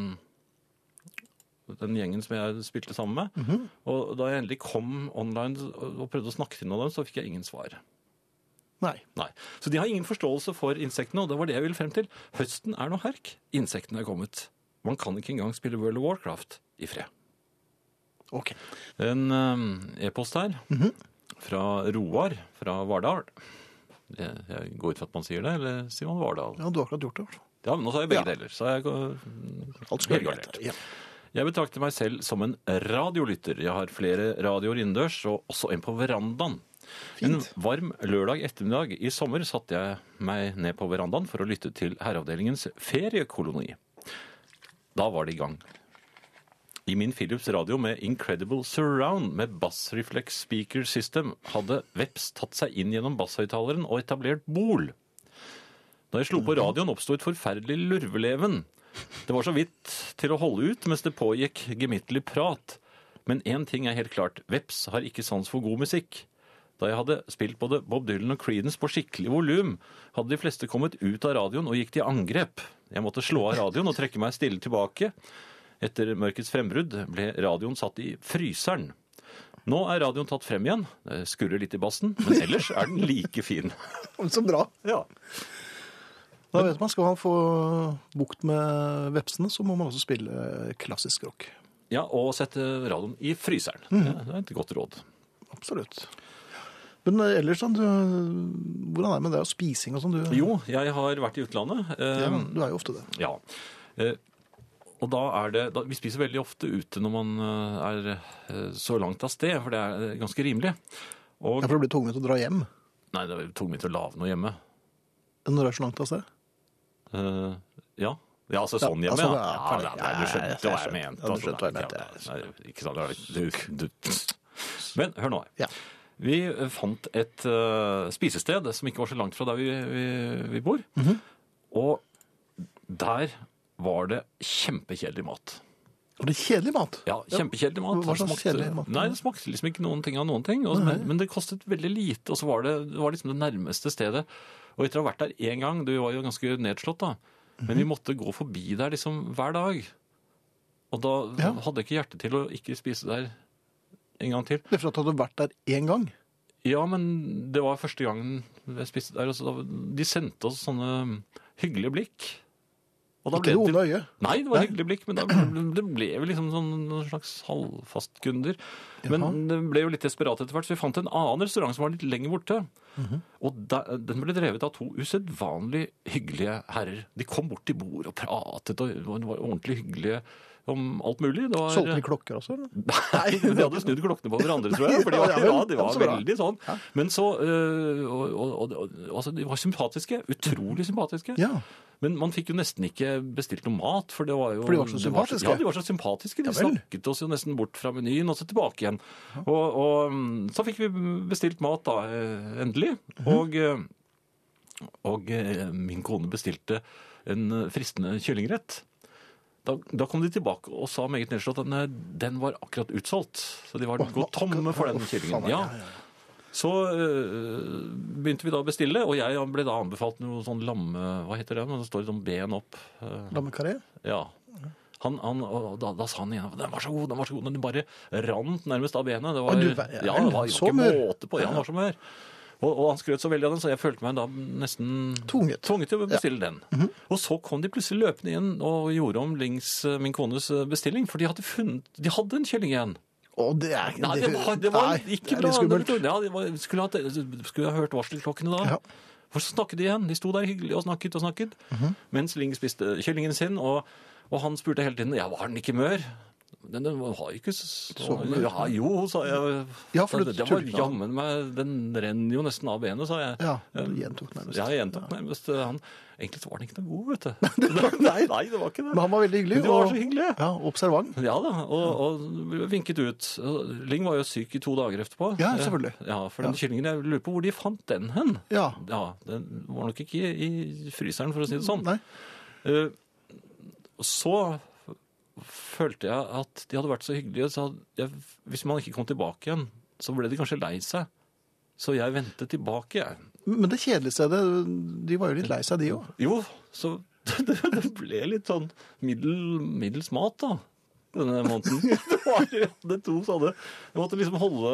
[SPEAKER 3] den gjengen som jeg spilte sammen med. Og da jeg endelig kom online og prøvde å snakke til noen av dem, så fikk jeg ingen svar.
[SPEAKER 2] Nei.
[SPEAKER 3] Nei. Så de har ingen forståelse for insektene, og det var det jeg ville frem til. Høsten er noe herk. Insektene er kommet. Man kan ikke engang spille World of Warcraft i fred.
[SPEAKER 2] Ok.
[SPEAKER 3] En eh, e-post her fra Roar fra Vardal. Jeg, jeg går ut fra at man sier det, eller sier man Vardal?
[SPEAKER 2] Ja, du har akkurat gjort det. i hvert fall.
[SPEAKER 3] Ja, men nå sa jeg begge
[SPEAKER 2] Ja.
[SPEAKER 3] deler. Så jeg,
[SPEAKER 2] Alt skulle være
[SPEAKER 3] Helt
[SPEAKER 2] greit.
[SPEAKER 3] klart.
[SPEAKER 2] Ja.
[SPEAKER 3] jeg betrakter meg selv som en radiolytter. Jeg har flere radioer innendørs, og også en på verandaen.
[SPEAKER 2] Fint.
[SPEAKER 3] En varm lørdag ettermiddag i sommer satte jeg meg ned på verandaen for å lytte til Herreavdelingens feriekoloni. Da var det i gang. I min Philips radio med Incredible Surround med bassreflex speaker system hadde Veps tatt seg inn gjennom basshøyttaleren og etablert bol. Da jeg slo
[SPEAKER 2] Mm.
[SPEAKER 3] på radioen, oppsto et forferdelig lurveleven. Det var så vidt til å holde ut mens det pågikk gemyttlig prat. Men én ting er helt klart, Veps har ikke sans for god musikk. Da jeg hadde spilt både Bob Dylan og Creedence på skikkelig volum, hadde de fleste kommet ut av radioen og gikk til angrep. Jeg måtte slå av radioen og trekke meg stille tilbake. Etter mørkets frembrudd ble radioen satt i fryseren. Nå er radioen tatt frem igjen. Det skurrer litt i bassen, men ellers er den like fin.
[SPEAKER 2] Så bra.
[SPEAKER 3] Ja.
[SPEAKER 2] Da vet man, Skal man få bukt med vepsene, så må man også spille klassisk rock.
[SPEAKER 3] Ja, og sette radioen i fryseren. Ja, det er et godt råd.
[SPEAKER 2] Absolutt. Men ellers, sånn, du, hvordan er det med deg og spising og sånn? Du,
[SPEAKER 3] Jo, jeg har vært i utlandet.
[SPEAKER 2] ja,
[SPEAKER 3] Eh,
[SPEAKER 2] du er jo ofte det.
[SPEAKER 3] ja. Eh, og da er det da, Vi spiser veldig ofte ute når man eh, er eh, så langt av sted, for det er eh, ganske rimelig. Og
[SPEAKER 2] Ja, for det blir tungvint å dra hjem
[SPEAKER 3] Nei, det er tungvint å lage noe hjemme.
[SPEAKER 2] når det er så langt av sted.
[SPEAKER 3] Eh, ja. Ja, altså sånn
[SPEAKER 2] Ja,
[SPEAKER 3] hjemme,
[SPEAKER 2] altså,
[SPEAKER 3] ja.
[SPEAKER 2] ja,
[SPEAKER 3] ja, nei, nei, du
[SPEAKER 2] jeg
[SPEAKER 3] skjønte hva jeg
[SPEAKER 2] skjønte.
[SPEAKER 3] mente.
[SPEAKER 2] Ja, du
[SPEAKER 3] altså,
[SPEAKER 2] skjønte hva jeg
[SPEAKER 3] nei,
[SPEAKER 2] mente,
[SPEAKER 3] ja, nei, Ikke sant, du, du. Men hør nå her.
[SPEAKER 2] Ja.
[SPEAKER 3] Vi fant et
[SPEAKER 2] Mhm.
[SPEAKER 3] eh, spisested som ikke var så langt fra der vi, vi, vi bor. Og Der var det kjempekjedelig mat.
[SPEAKER 2] Og det er kjedelig mat.
[SPEAKER 3] Ja, kjempekjedelig mat.
[SPEAKER 2] Hva slags
[SPEAKER 3] Det
[SPEAKER 2] kjedelig mat?
[SPEAKER 3] Nei, det smakte liksom ikke noen ting av noen ting. og- men, men det kostet veldig lite, og så var det, det var liksom det nærmeste stedet. Og etter å ha vært der én gang, du var jo ganske nedslått da, men
[SPEAKER 2] Mhm.
[SPEAKER 3] vi måtte gå forbi der liksom hver dag. Og da
[SPEAKER 2] Ja.
[SPEAKER 3] hadde jeg ikke hjerte til å ikke spise der en gang til.
[SPEAKER 2] Det er for at du hadde vært der én gang.
[SPEAKER 3] Ja, men det var første gangen jeg spiste der. og så da- de sendte oss sånne hyggelige blikk. Og da
[SPEAKER 2] Ikke det
[SPEAKER 3] ble det-
[SPEAKER 2] onde øyet.
[SPEAKER 3] Nei, det var
[SPEAKER 2] Nei.
[SPEAKER 3] hyggelig blikk, men da ble, det ble vi liksom sånn, noen slags halvfastkunder. Men
[SPEAKER 2] Jaha.
[SPEAKER 3] det ble jo litt desperat etter hvert, så vi fant en annen restaurant som var litt lenger borte.
[SPEAKER 2] Mhm.
[SPEAKER 3] Og der, den ble drevet av to usedvanlig hyggelige herrer. De kom bort til bord og pratet, og det var- det var ordentlig hyggelige om alt mulig. Det var,
[SPEAKER 2] Solgte de klokker også? eller?
[SPEAKER 3] Nei, de hadde snudd klokkene på hverandre, tror jeg. For de var,
[SPEAKER 2] Ja,
[SPEAKER 3] ja,
[SPEAKER 2] vel.
[SPEAKER 3] de var
[SPEAKER 2] Så bra.
[SPEAKER 3] veldig sånn. Men så øh, og, og, og, og- altså, De var sympatiske. Utrolig sympatiske.
[SPEAKER 2] Ja.
[SPEAKER 3] Men man fikk jo nesten ikke bestilt noe mat, for det var jo
[SPEAKER 2] For de var så
[SPEAKER 3] det
[SPEAKER 2] sympatiske.
[SPEAKER 3] ja, de var så sympatiske. De
[SPEAKER 2] Ja vel.
[SPEAKER 3] snakket oss jo nesten bort fra menyen, og så tilbake igjen. Og, og mm, så fikk vi bestilt mat, da, eh, endelig.
[SPEAKER 2] Mhm.
[SPEAKER 3] Og, eh, og eh, min kone bestilte en eh, fristende kyllingrett. Da, da kom de tilbake og sa meget nedslått at nei, den var akkurat utsolgt. Så de var
[SPEAKER 2] Åh,
[SPEAKER 3] gått tomme
[SPEAKER 2] akkurat-
[SPEAKER 3] for den
[SPEAKER 2] Åh, faen,
[SPEAKER 3] kyllingen.
[SPEAKER 2] ja,
[SPEAKER 3] Ja.
[SPEAKER 2] ja, ja.
[SPEAKER 3] Så øh, begynte vi da å bestille, og jeg ble da anbefalt noe sånn lamme... Hva heter det? Men det står sånn ben opp. øh,
[SPEAKER 2] Lammekaré?
[SPEAKER 3] ja. Han, han, og da, da sa han igjen den var så god, den var så god, men den bare rant nærmest av benet. Det var,
[SPEAKER 2] Å, du ver- ja,
[SPEAKER 3] ja, det var jo
[SPEAKER 2] så
[SPEAKER 3] ikke
[SPEAKER 2] mør.
[SPEAKER 3] måte på. Ja, han var så mør. Og, og han skrøt så veldig av den, så jeg følte meg da nesten
[SPEAKER 2] Tvunget. Mhm.
[SPEAKER 3] til å bestille den. Og så kom de plutselig løpende igjen og gjorde om Lings, eh, min kones, eh, bestilling, for de hadde funnet De hadde en kylling igjen.
[SPEAKER 2] Å, det er
[SPEAKER 3] Nei, det var, det var
[SPEAKER 2] nei,
[SPEAKER 3] ikke
[SPEAKER 2] det er
[SPEAKER 3] bra.
[SPEAKER 2] litt skummelt.
[SPEAKER 3] Ja, det var, skulle, hatt, skulle ha hørt varselklokkene da.
[SPEAKER 2] Ja.
[SPEAKER 3] For så snakket de igjen. De sto der hyggelig og snakket og snakket.
[SPEAKER 2] Mhm.
[SPEAKER 3] Mens Ling spiste kyllingen sin, og, og han spurte hele tiden ja, var den ikke mør. Den, den har ikke så,
[SPEAKER 2] mør.
[SPEAKER 3] Ja, jo, sa jeg.
[SPEAKER 2] Ja, for du
[SPEAKER 3] den, den var
[SPEAKER 2] tulla.
[SPEAKER 3] jammen meg Den renner jo nesten av benet, sa jeg.
[SPEAKER 2] Ja, du gjentok nærmest.
[SPEAKER 3] Ja, jeg gjentok nærmest. eh, Han, egentlig så var den ikke noe god, vet du. nei, nei, det var ikke det.
[SPEAKER 2] Men han var veldig hyggelig.
[SPEAKER 3] Men de var
[SPEAKER 2] og-
[SPEAKER 3] så hyggelige.
[SPEAKER 2] Ja, observant.
[SPEAKER 3] Ja da, og, og vinket ut. Ling var jo syk i to dager etterpå. Eh,
[SPEAKER 2] Ja, selvfølgelig.
[SPEAKER 3] Ja, For den kyllingen, jeg lurer på hvor de fant den hen.
[SPEAKER 2] Ja.
[SPEAKER 3] Den var nok ikke i fryseren, for å si det sånn.
[SPEAKER 2] Nei.
[SPEAKER 3] Eh, Så følte jeg at de hadde vært så hyggelige, så hadde jeg, hvis man ikke kom tilbake igjen, så ble de kanskje lei seg. Så jeg vendte tilbake, jeg.
[SPEAKER 2] Men det kjedelige stedet, de var jo litt lei seg, de òg.
[SPEAKER 3] Jo, så det, det ble litt sånn middel, middels mat, da. Denne måneden. Det var jeg hadde to sånne Jeg måtte liksom holde,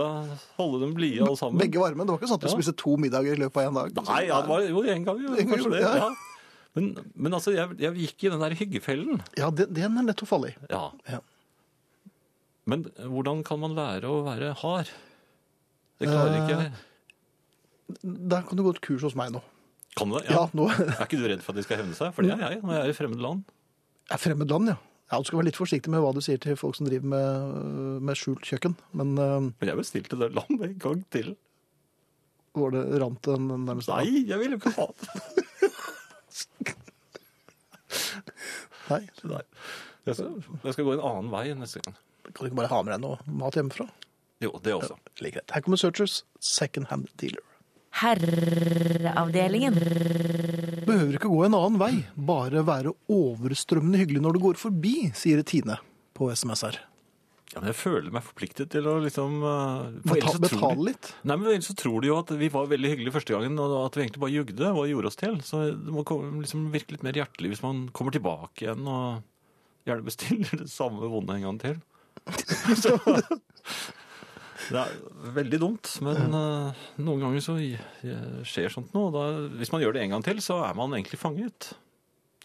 [SPEAKER 3] holde dem blide alle sammen.
[SPEAKER 2] Begge varme. Det var ikke sånn at du
[SPEAKER 3] Ja.
[SPEAKER 2] spiste to middager i løpet av én dag.
[SPEAKER 3] Nei, ja, det var jo en gang, jo.
[SPEAKER 2] En gang,
[SPEAKER 3] Kanskje det.
[SPEAKER 2] ja.
[SPEAKER 3] Ja. Men, men altså, jeg, jeg gikk i den der hyggefellen.
[SPEAKER 2] Ja, den, den er lett å falle i.
[SPEAKER 3] Ja.
[SPEAKER 2] Ja.
[SPEAKER 3] Men hvordan kan man lære å være hard? Det klarer ikke jeg.
[SPEAKER 2] Der kan du gå et kurs hos meg nå.
[SPEAKER 3] Kan du det?
[SPEAKER 2] Ja,
[SPEAKER 3] Ja.
[SPEAKER 2] nå
[SPEAKER 3] Er ikke du redd for at de skal hevne seg? For det er jeg når jeg er i fremmed land.
[SPEAKER 2] er fremmed land, ja. ja. Du skal være litt forsiktig med hva du sier til folk som driver med, med skjult kjøkken. Men øh,
[SPEAKER 3] Men jeg bestilte det land en gang til.
[SPEAKER 2] var det rant en nærmest
[SPEAKER 3] Nei, jeg vil jo ikke ha det.
[SPEAKER 2] Nei.
[SPEAKER 3] Nei. Jeg skal, jeg skal gå en annen vei neste gang.
[SPEAKER 2] Kan du ikke bare ha med deg noe mat hjemmefra?
[SPEAKER 3] Jo, det også.
[SPEAKER 2] Like greit. Her kommer Searchers, second hand dealer.
[SPEAKER 1] Herreavdelingen.
[SPEAKER 2] Behøver ikke gå en annen vei, bare være overstrømmende hyggelig når du går forbi, sier Tine på SMS her.
[SPEAKER 3] Ja, men jeg føler meg forpliktet til å liksom eh, for
[SPEAKER 2] Beta,
[SPEAKER 3] ellers så tror de-
[SPEAKER 2] betale litt.
[SPEAKER 3] Nei, men ellers så tror de jo at vi var veldig hyggelige første gangen, og at vi egentlig bare jugde og gjorde oss til. Så det må komme- liksom virke litt mer hjertelig hvis man kommer tilbake igjen og gjerne bestiller det samme vonde en gang til. Så, det er veldig dumt, men eh, noen ganger så i- i- skjer sånt noe. og Da, hvis man gjør det en gang til, så er man egentlig fanget.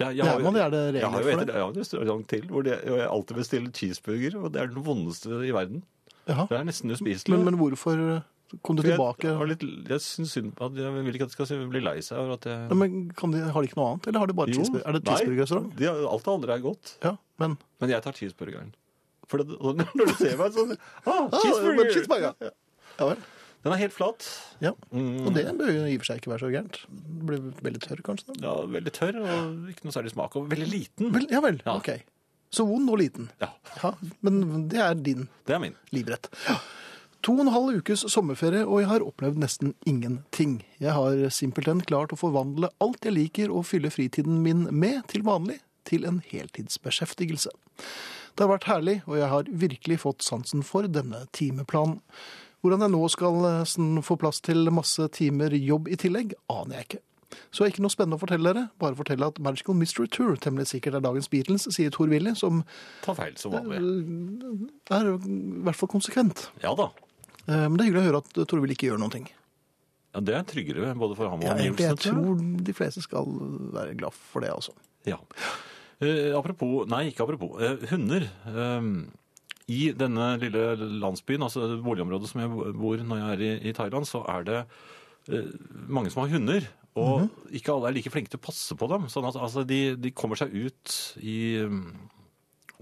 [SPEAKER 3] Jeg, jeg
[SPEAKER 2] Det
[SPEAKER 3] har
[SPEAKER 2] er
[SPEAKER 3] jo-
[SPEAKER 2] man, det er det
[SPEAKER 3] Jeg har jo
[SPEAKER 2] regler for
[SPEAKER 3] et-
[SPEAKER 2] det.
[SPEAKER 3] jeg har en restaurant til hvor det- og jeg alltid bestiller cheeseburger, og det er den vondeste i verden.
[SPEAKER 2] Jaha.
[SPEAKER 3] Det er nesten uspiselig.
[SPEAKER 2] Men, men hvorfor kom du tilbake?
[SPEAKER 3] Jeg, har litt, jeg syns synd på at jeg vil ikke at de skal bli lei seg over at jeg
[SPEAKER 2] Nei, men kan de, har de ikke noe annet, eller har de bare
[SPEAKER 3] Jo,
[SPEAKER 2] cheeseburger? Er det
[SPEAKER 3] nei, Ah,
[SPEAKER 2] cheeseburgerrestaurant?
[SPEAKER 3] de- alt det andre er godt,
[SPEAKER 2] Ja, men
[SPEAKER 3] men jeg tar cheeseburgeren. For det, og når du ser meg sånn ah,
[SPEAKER 2] Ah,
[SPEAKER 3] cheeseburger!
[SPEAKER 2] men cheeseburger. Ja vel.
[SPEAKER 3] Den er helt flat.
[SPEAKER 2] Ja.
[SPEAKER 3] Mm.
[SPEAKER 2] Og det bør jo i og for seg ikke være så gærent. Det blir veldig tørr, kanskje. da.
[SPEAKER 3] Ja, veldig tørr og ikke noe særlig smak. Og veldig liten.
[SPEAKER 2] Vel, ja vel,
[SPEAKER 3] Ja.
[SPEAKER 2] ok. Så vond og liten.
[SPEAKER 3] Ja,
[SPEAKER 2] Ja, men det er din
[SPEAKER 3] Det er min.
[SPEAKER 2] livrett. Ja. To og en halv ukes sommerferie, og jeg har opplevd nesten ingenting. Jeg har simpelthen klart å forvandle alt jeg liker og fylle fritiden min med til vanlig, til en heltidsbeskjeftigelse. Det har vært herlig, og jeg har virkelig fått sansen for denne timeplanen. Hvordan jeg nå skal eh, sn- få plass til masse timer jobb i tillegg, aner jeg ikke. Så ikke noe spennende å fortelle dere, bare fortelle at Magical Mystery Tour temmelig sikkert er dagens Beatles, sier Tor Willy, som
[SPEAKER 3] Ta feil som vanlig.
[SPEAKER 2] er i hvert fall konsekvent.
[SPEAKER 3] Ja da.
[SPEAKER 2] Eh, Men det er hyggelig å høre at Tor Willy ikke gjør noen ting.
[SPEAKER 3] Ja, det er tryggere både for ham og
[SPEAKER 2] Ja, egentlig,
[SPEAKER 3] omgivelsene.
[SPEAKER 2] jeg
[SPEAKER 3] tror jeg.
[SPEAKER 2] tror de fleste skal være glad for det, altså.
[SPEAKER 3] Ja. Eh, apropos Nei, ikke apropos. Eh, hunder. Eh, I denne lille landsbyen, altså det boligområdet som jeg bor når jeg er i, i Thailand, så er det eh, mange som har hunder. Og
[SPEAKER 2] Mhm.
[SPEAKER 3] ikke alle er like flinke til å passe på dem. Sånn at altså, de, de kommer seg ut i um,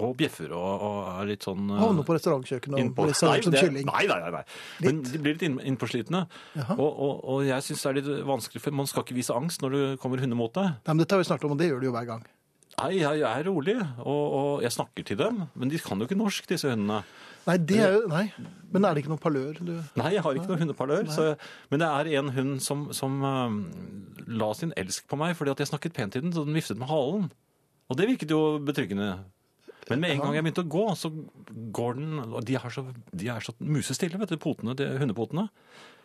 [SPEAKER 3] Og bjeffer og, og er litt sånn eh,
[SPEAKER 2] Havne på restaurantkjøkkenet og
[SPEAKER 3] innpå.
[SPEAKER 2] bli servert som
[SPEAKER 3] det-
[SPEAKER 2] kylling.
[SPEAKER 3] Nei, nei, nei. nei. Men de blir litt inn- innpåslitne.
[SPEAKER 2] Jaha.
[SPEAKER 3] Og, og, og jeg syns det er litt vanskelig, for man skal ikke vise angst når det kommer hunder mot deg.
[SPEAKER 2] Nei, men dette har vi snakket om, og det gjør de jo hver gang.
[SPEAKER 3] Nei, jeg er rolig, og, og jeg snakker til dem. Men de kan jo ikke norsk, disse hundene.
[SPEAKER 2] Nei, det er jo, nei. Men er det ikke noen palør? Du?
[SPEAKER 3] Nei, jeg har ikke noen hundeparlør. Så, men det er en hund som, som eh, la sin elsk på meg fordi at jeg snakket pent til den, så den viftet med halen. Og det virket jo betryggende. Men med en gang jeg begynte å gå, så går den og De er så, de er så musestille, vet du, potene, de hundepotene.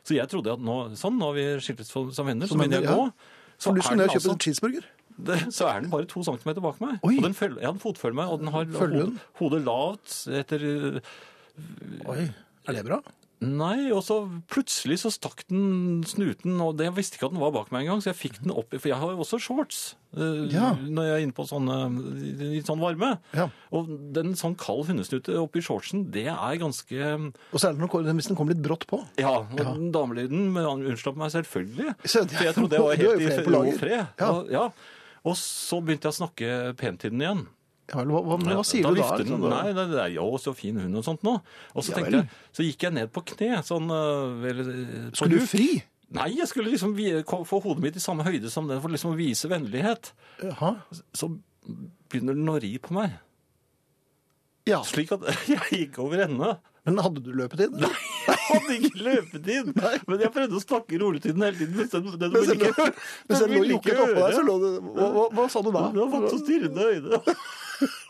[SPEAKER 3] Så jeg trodde at nå Sånn, nå har vi skiltes som som venner, så
[SPEAKER 2] Som
[SPEAKER 3] begynner jeg å
[SPEAKER 2] venner,
[SPEAKER 3] gå.
[SPEAKER 2] Så du
[SPEAKER 3] er
[SPEAKER 2] skulle ned
[SPEAKER 3] den
[SPEAKER 2] og kjøpe
[SPEAKER 3] altså-
[SPEAKER 2] en cheeseburger?
[SPEAKER 3] det, så er den bare to centimeter bak meg.
[SPEAKER 2] Oi.
[SPEAKER 3] Og den følger, ja, den fotfølger meg, og den har
[SPEAKER 2] Følger
[SPEAKER 3] hodet,
[SPEAKER 2] den?
[SPEAKER 3] hodet lavt etter
[SPEAKER 2] Oi, er det bra?
[SPEAKER 3] Nei, og så plutselig så stakk den snuten, og det, jeg visste ikke at den var bak meg engang, så jeg fikk den opp i For jeg har jo også shorts eh,
[SPEAKER 2] Ja.
[SPEAKER 3] når jeg er inne på sånne i- i sånn varme.
[SPEAKER 2] Ja.
[SPEAKER 3] Og den sånn kald hundesnute oppi shortsen, det er ganske
[SPEAKER 2] Og særlig når den- hvis den kommer litt brått på.
[SPEAKER 3] Ja, og den damelyden men han unnslapp meg selvfølgelig.
[SPEAKER 2] Så-
[SPEAKER 3] For jeg trodde jeg
[SPEAKER 2] Du er
[SPEAKER 3] var
[SPEAKER 2] jo
[SPEAKER 3] helt i
[SPEAKER 2] flere på
[SPEAKER 3] ro og
[SPEAKER 2] lager.
[SPEAKER 3] fred.
[SPEAKER 2] Ja.
[SPEAKER 3] Og, ja. og så begynte jeg å snakke pent til den igjen.
[SPEAKER 2] Ja, vel, hva, hva, men
[SPEAKER 3] Ja,
[SPEAKER 2] hva sier du da?
[SPEAKER 3] vifter
[SPEAKER 2] liksom,
[SPEAKER 3] den.
[SPEAKER 2] da?
[SPEAKER 3] Nei, det, det er jo så fin hund og sånt nå. Og så
[SPEAKER 2] Ja
[SPEAKER 3] tenkte
[SPEAKER 2] vel.
[SPEAKER 3] jeg, så gikk jeg ned på kne, sånn øh, vel, øh, på
[SPEAKER 2] Skulle du
[SPEAKER 3] huk.
[SPEAKER 2] fri?
[SPEAKER 3] Nei, jeg skulle liksom vi- ko- få hodet mitt i samme høyde som den, for liksom å vise vennlighet.
[SPEAKER 2] Jaha.
[SPEAKER 3] Så begynner den å ri på meg.
[SPEAKER 2] Ja,
[SPEAKER 3] Slik at jeg gikk over ende.
[SPEAKER 2] men hadde du løpetid? Nei.
[SPEAKER 3] Jeg hadde ikke løpetid, men jeg prøvde å snakke rolig til den hele tiden. Mens den, den
[SPEAKER 2] Mens
[SPEAKER 3] ville
[SPEAKER 2] jeg lå-
[SPEAKER 3] ikke,
[SPEAKER 2] Hvis jeg
[SPEAKER 3] den
[SPEAKER 2] lå
[SPEAKER 3] ville ikke
[SPEAKER 2] lukket oppå deg,
[SPEAKER 3] høre.
[SPEAKER 2] så lå du Hva, hva, hva sa du da?
[SPEAKER 3] Den hadde fått så stirrende øyne.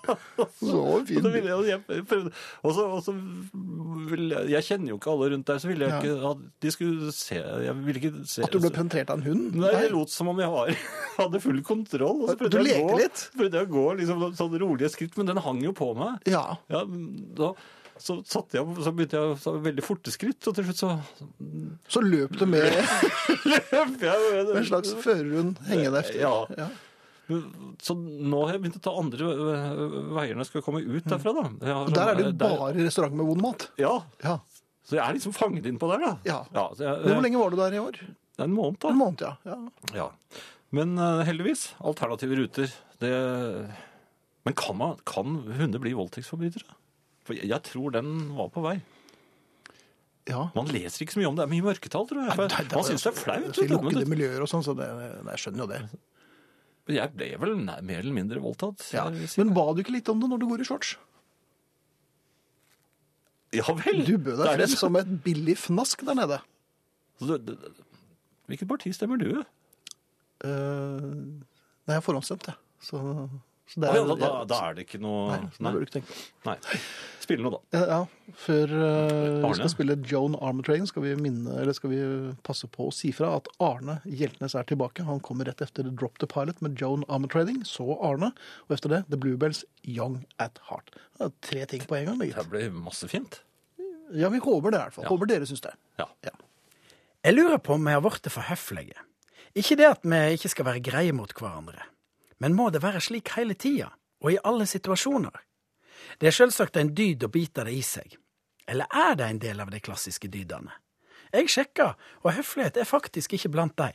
[SPEAKER 2] Så
[SPEAKER 3] Og da ville
[SPEAKER 2] fin.
[SPEAKER 3] jeg, og jeg, prøvde, og så, og så ville jeg, jeg kjenner jo ikke alle rundt der, så ville jeg
[SPEAKER 2] Ja.
[SPEAKER 3] ikke at de skulle se Jeg ville ikke se
[SPEAKER 2] At du ble penetrert av en hund?
[SPEAKER 3] Nei, jeg lot som om jeg var, hadde full kontroll. Og så prøvde
[SPEAKER 2] Du
[SPEAKER 3] jeg
[SPEAKER 2] leker
[SPEAKER 3] å gå,
[SPEAKER 2] litt?
[SPEAKER 3] prøvde jeg å gå liksom, sånn rolige skritt, men den hang jo på meg.
[SPEAKER 2] Ja.
[SPEAKER 3] Ja, da, så, satte jeg, så begynte jeg å ta veldig forte skritt, og til slutt så
[SPEAKER 2] Så løp du med
[SPEAKER 3] løp jeg. med-
[SPEAKER 2] en slags førerhund hengende efter.
[SPEAKER 3] Ja. Så nå har jeg begynt å ta andre øh, veier når jeg skal komme ut derfra, da. Jeg har
[SPEAKER 2] Og Der er det jo
[SPEAKER 3] sånn- der-
[SPEAKER 2] bare restaurant med vond mat.
[SPEAKER 3] Ja, Eh.
[SPEAKER 2] Ja.
[SPEAKER 3] Så jeg er liksom fanget inn på der, da.
[SPEAKER 2] Ja.
[SPEAKER 3] så jeg,
[SPEAKER 2] Men hvor lenge var du der i år?
[SPEAKER 3] Det er en måned, da.
[SPEAKER 2] En måned, ja. ja.
[SPEAKER 3] Ja. Men eh, heldigvis, alternative ruter. Det... Men kan, man, kan hunder bli voldtektsforbrytere? For jeg, jeg tror den var på vei.
[SPEAKER 2] ja.
[SPEAKER 3] Man leser ikke så mye om det. Det er mye mørketall, tror jeg.
[SPEAKER 2] Nei,
[SPEAKER 3] For
[SPEAKER 2] det-
[SPEAKER 3] man syns det er flaut.
[SPEAKER 2] I
[SPEAKER 3] vet du, men
[SPEAKER 2] lukkede
[SPEAKER 3] det-
[SPEAKER 2] miljøer og sånn, så det, nei, jeg skjønner jo det.
[SPEAKER 3] Men jeg ble vel nær- mer eller mindre voldtatt.
[SPEAKER 2] Ja.
[SPEAKER 3] jeg vil si.
[SPEAKER 2] Men ba du ikke litt om det når du går i shorts?
[SPEAKER 3] ja vel!
[SPEAKER 2] Du bød
[SPEAKER 3] Det
[SPEAKER 2] deg
[SPEAKER 3] er det
[SPEAKER 2] frem som et billig fnask der nede.
[SPEAKER 3] som- Så det- det- Hvilket parti stemmer du?
[SPEAKER 2] Eh, nei, jeg forhåndsdømte, jeg. Så, så det
[SPEAKER 3] Å
[SPEAKER 2] er,
[SPEAKER 3] ja, da, da, da er det ikke noe
[SPEAKER 2] Nei, så det bør du ikke tenke på.
[SPEAKER 3] Nei. Spill noe, da.
[SPEAKER 2] Ja, ja. Før eh,
[SPEAKER 3] Arne?
[SPEAKER 2] vi skal spille Joan Armatrain, skal vi minne, eller skal vi passe på å si fra at Arne Hjeltnes er tilbake. Han kommer rett etter Drop the Pilot med Joan Armatraining, så Arne, og etter det The Bluebells Young at Heart. Det er tre ting på en gang. det,
[SPEAKER 3] Det
[SPEAKER 2] gitt.
[SPEAKER 3] ble masse fint.
[SPEAKER 2] Ja, vi håper det i hvert fall. Håper dere syns det.
[SPEAKER 3] Ja.
[SPEAKER 2] Ja.
[SPEAKER 1] Jeg lurer på om vi har blitt for høflige. Ikke det at vi ikke skal være greie mot hverandre, men må det være slik hele tida, og i alle situasjoner? Det er selvsagt en dyd å bite det i seg. Eller er det en del av de klassiske dydene? Jeg sjekka, og høflighet er faktisk ikke blant de.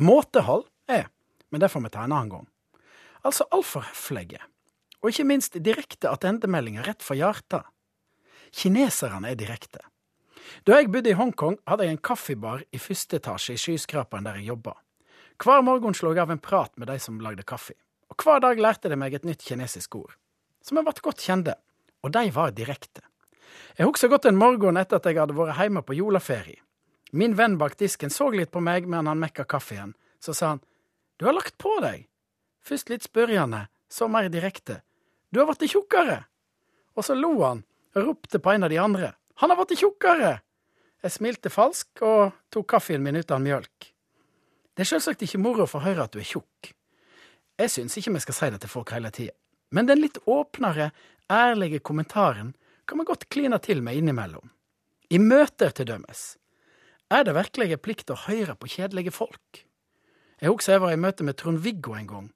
[SPEAKER 1] Måtehold er, men det får vi ta en annen gang. Altså altfor høflige, og ikke minst direkte attendemeldinger rett fra hjertet. Kineserne er direkte. Da jeg bodde i Hongkong, hadde jeg en kaffebar i første etasje i skyskraperen der jeg jobba. Hver morgen slo jeg av en prat med de som lagde kaffe, og hver dag lærte de meg et nytt kinesisk ord, som jeg ble godt kjente, og de var direkte. Jeg husker godt en morgen etter at jeg hadde vært hjemme på juleferie. Min venn bak disken så litt på meg mens han mekka kaffen. Så sa han, du har lagt på deg. Først litt spørrende, så mer direkte. Du har blitt tjukkere. Og så lo han og ropte på en av de andre. Han har blitt tjukkere! Jeg smilte falsk og tok kaffen min uten mjølk. Det er selvsagt ikke moro å få høre at du er tjukk. Jeg syns ikke vi skal si det til folk hele tida, men den litt åpnere, ærlige kommentaren kan vi godt kline til med innimellom. I møter, til dømes. Er det virkelig en plikt å høre på kjedelige folk? Jeg husker jeg var i møte med Trond-Viggo en gang.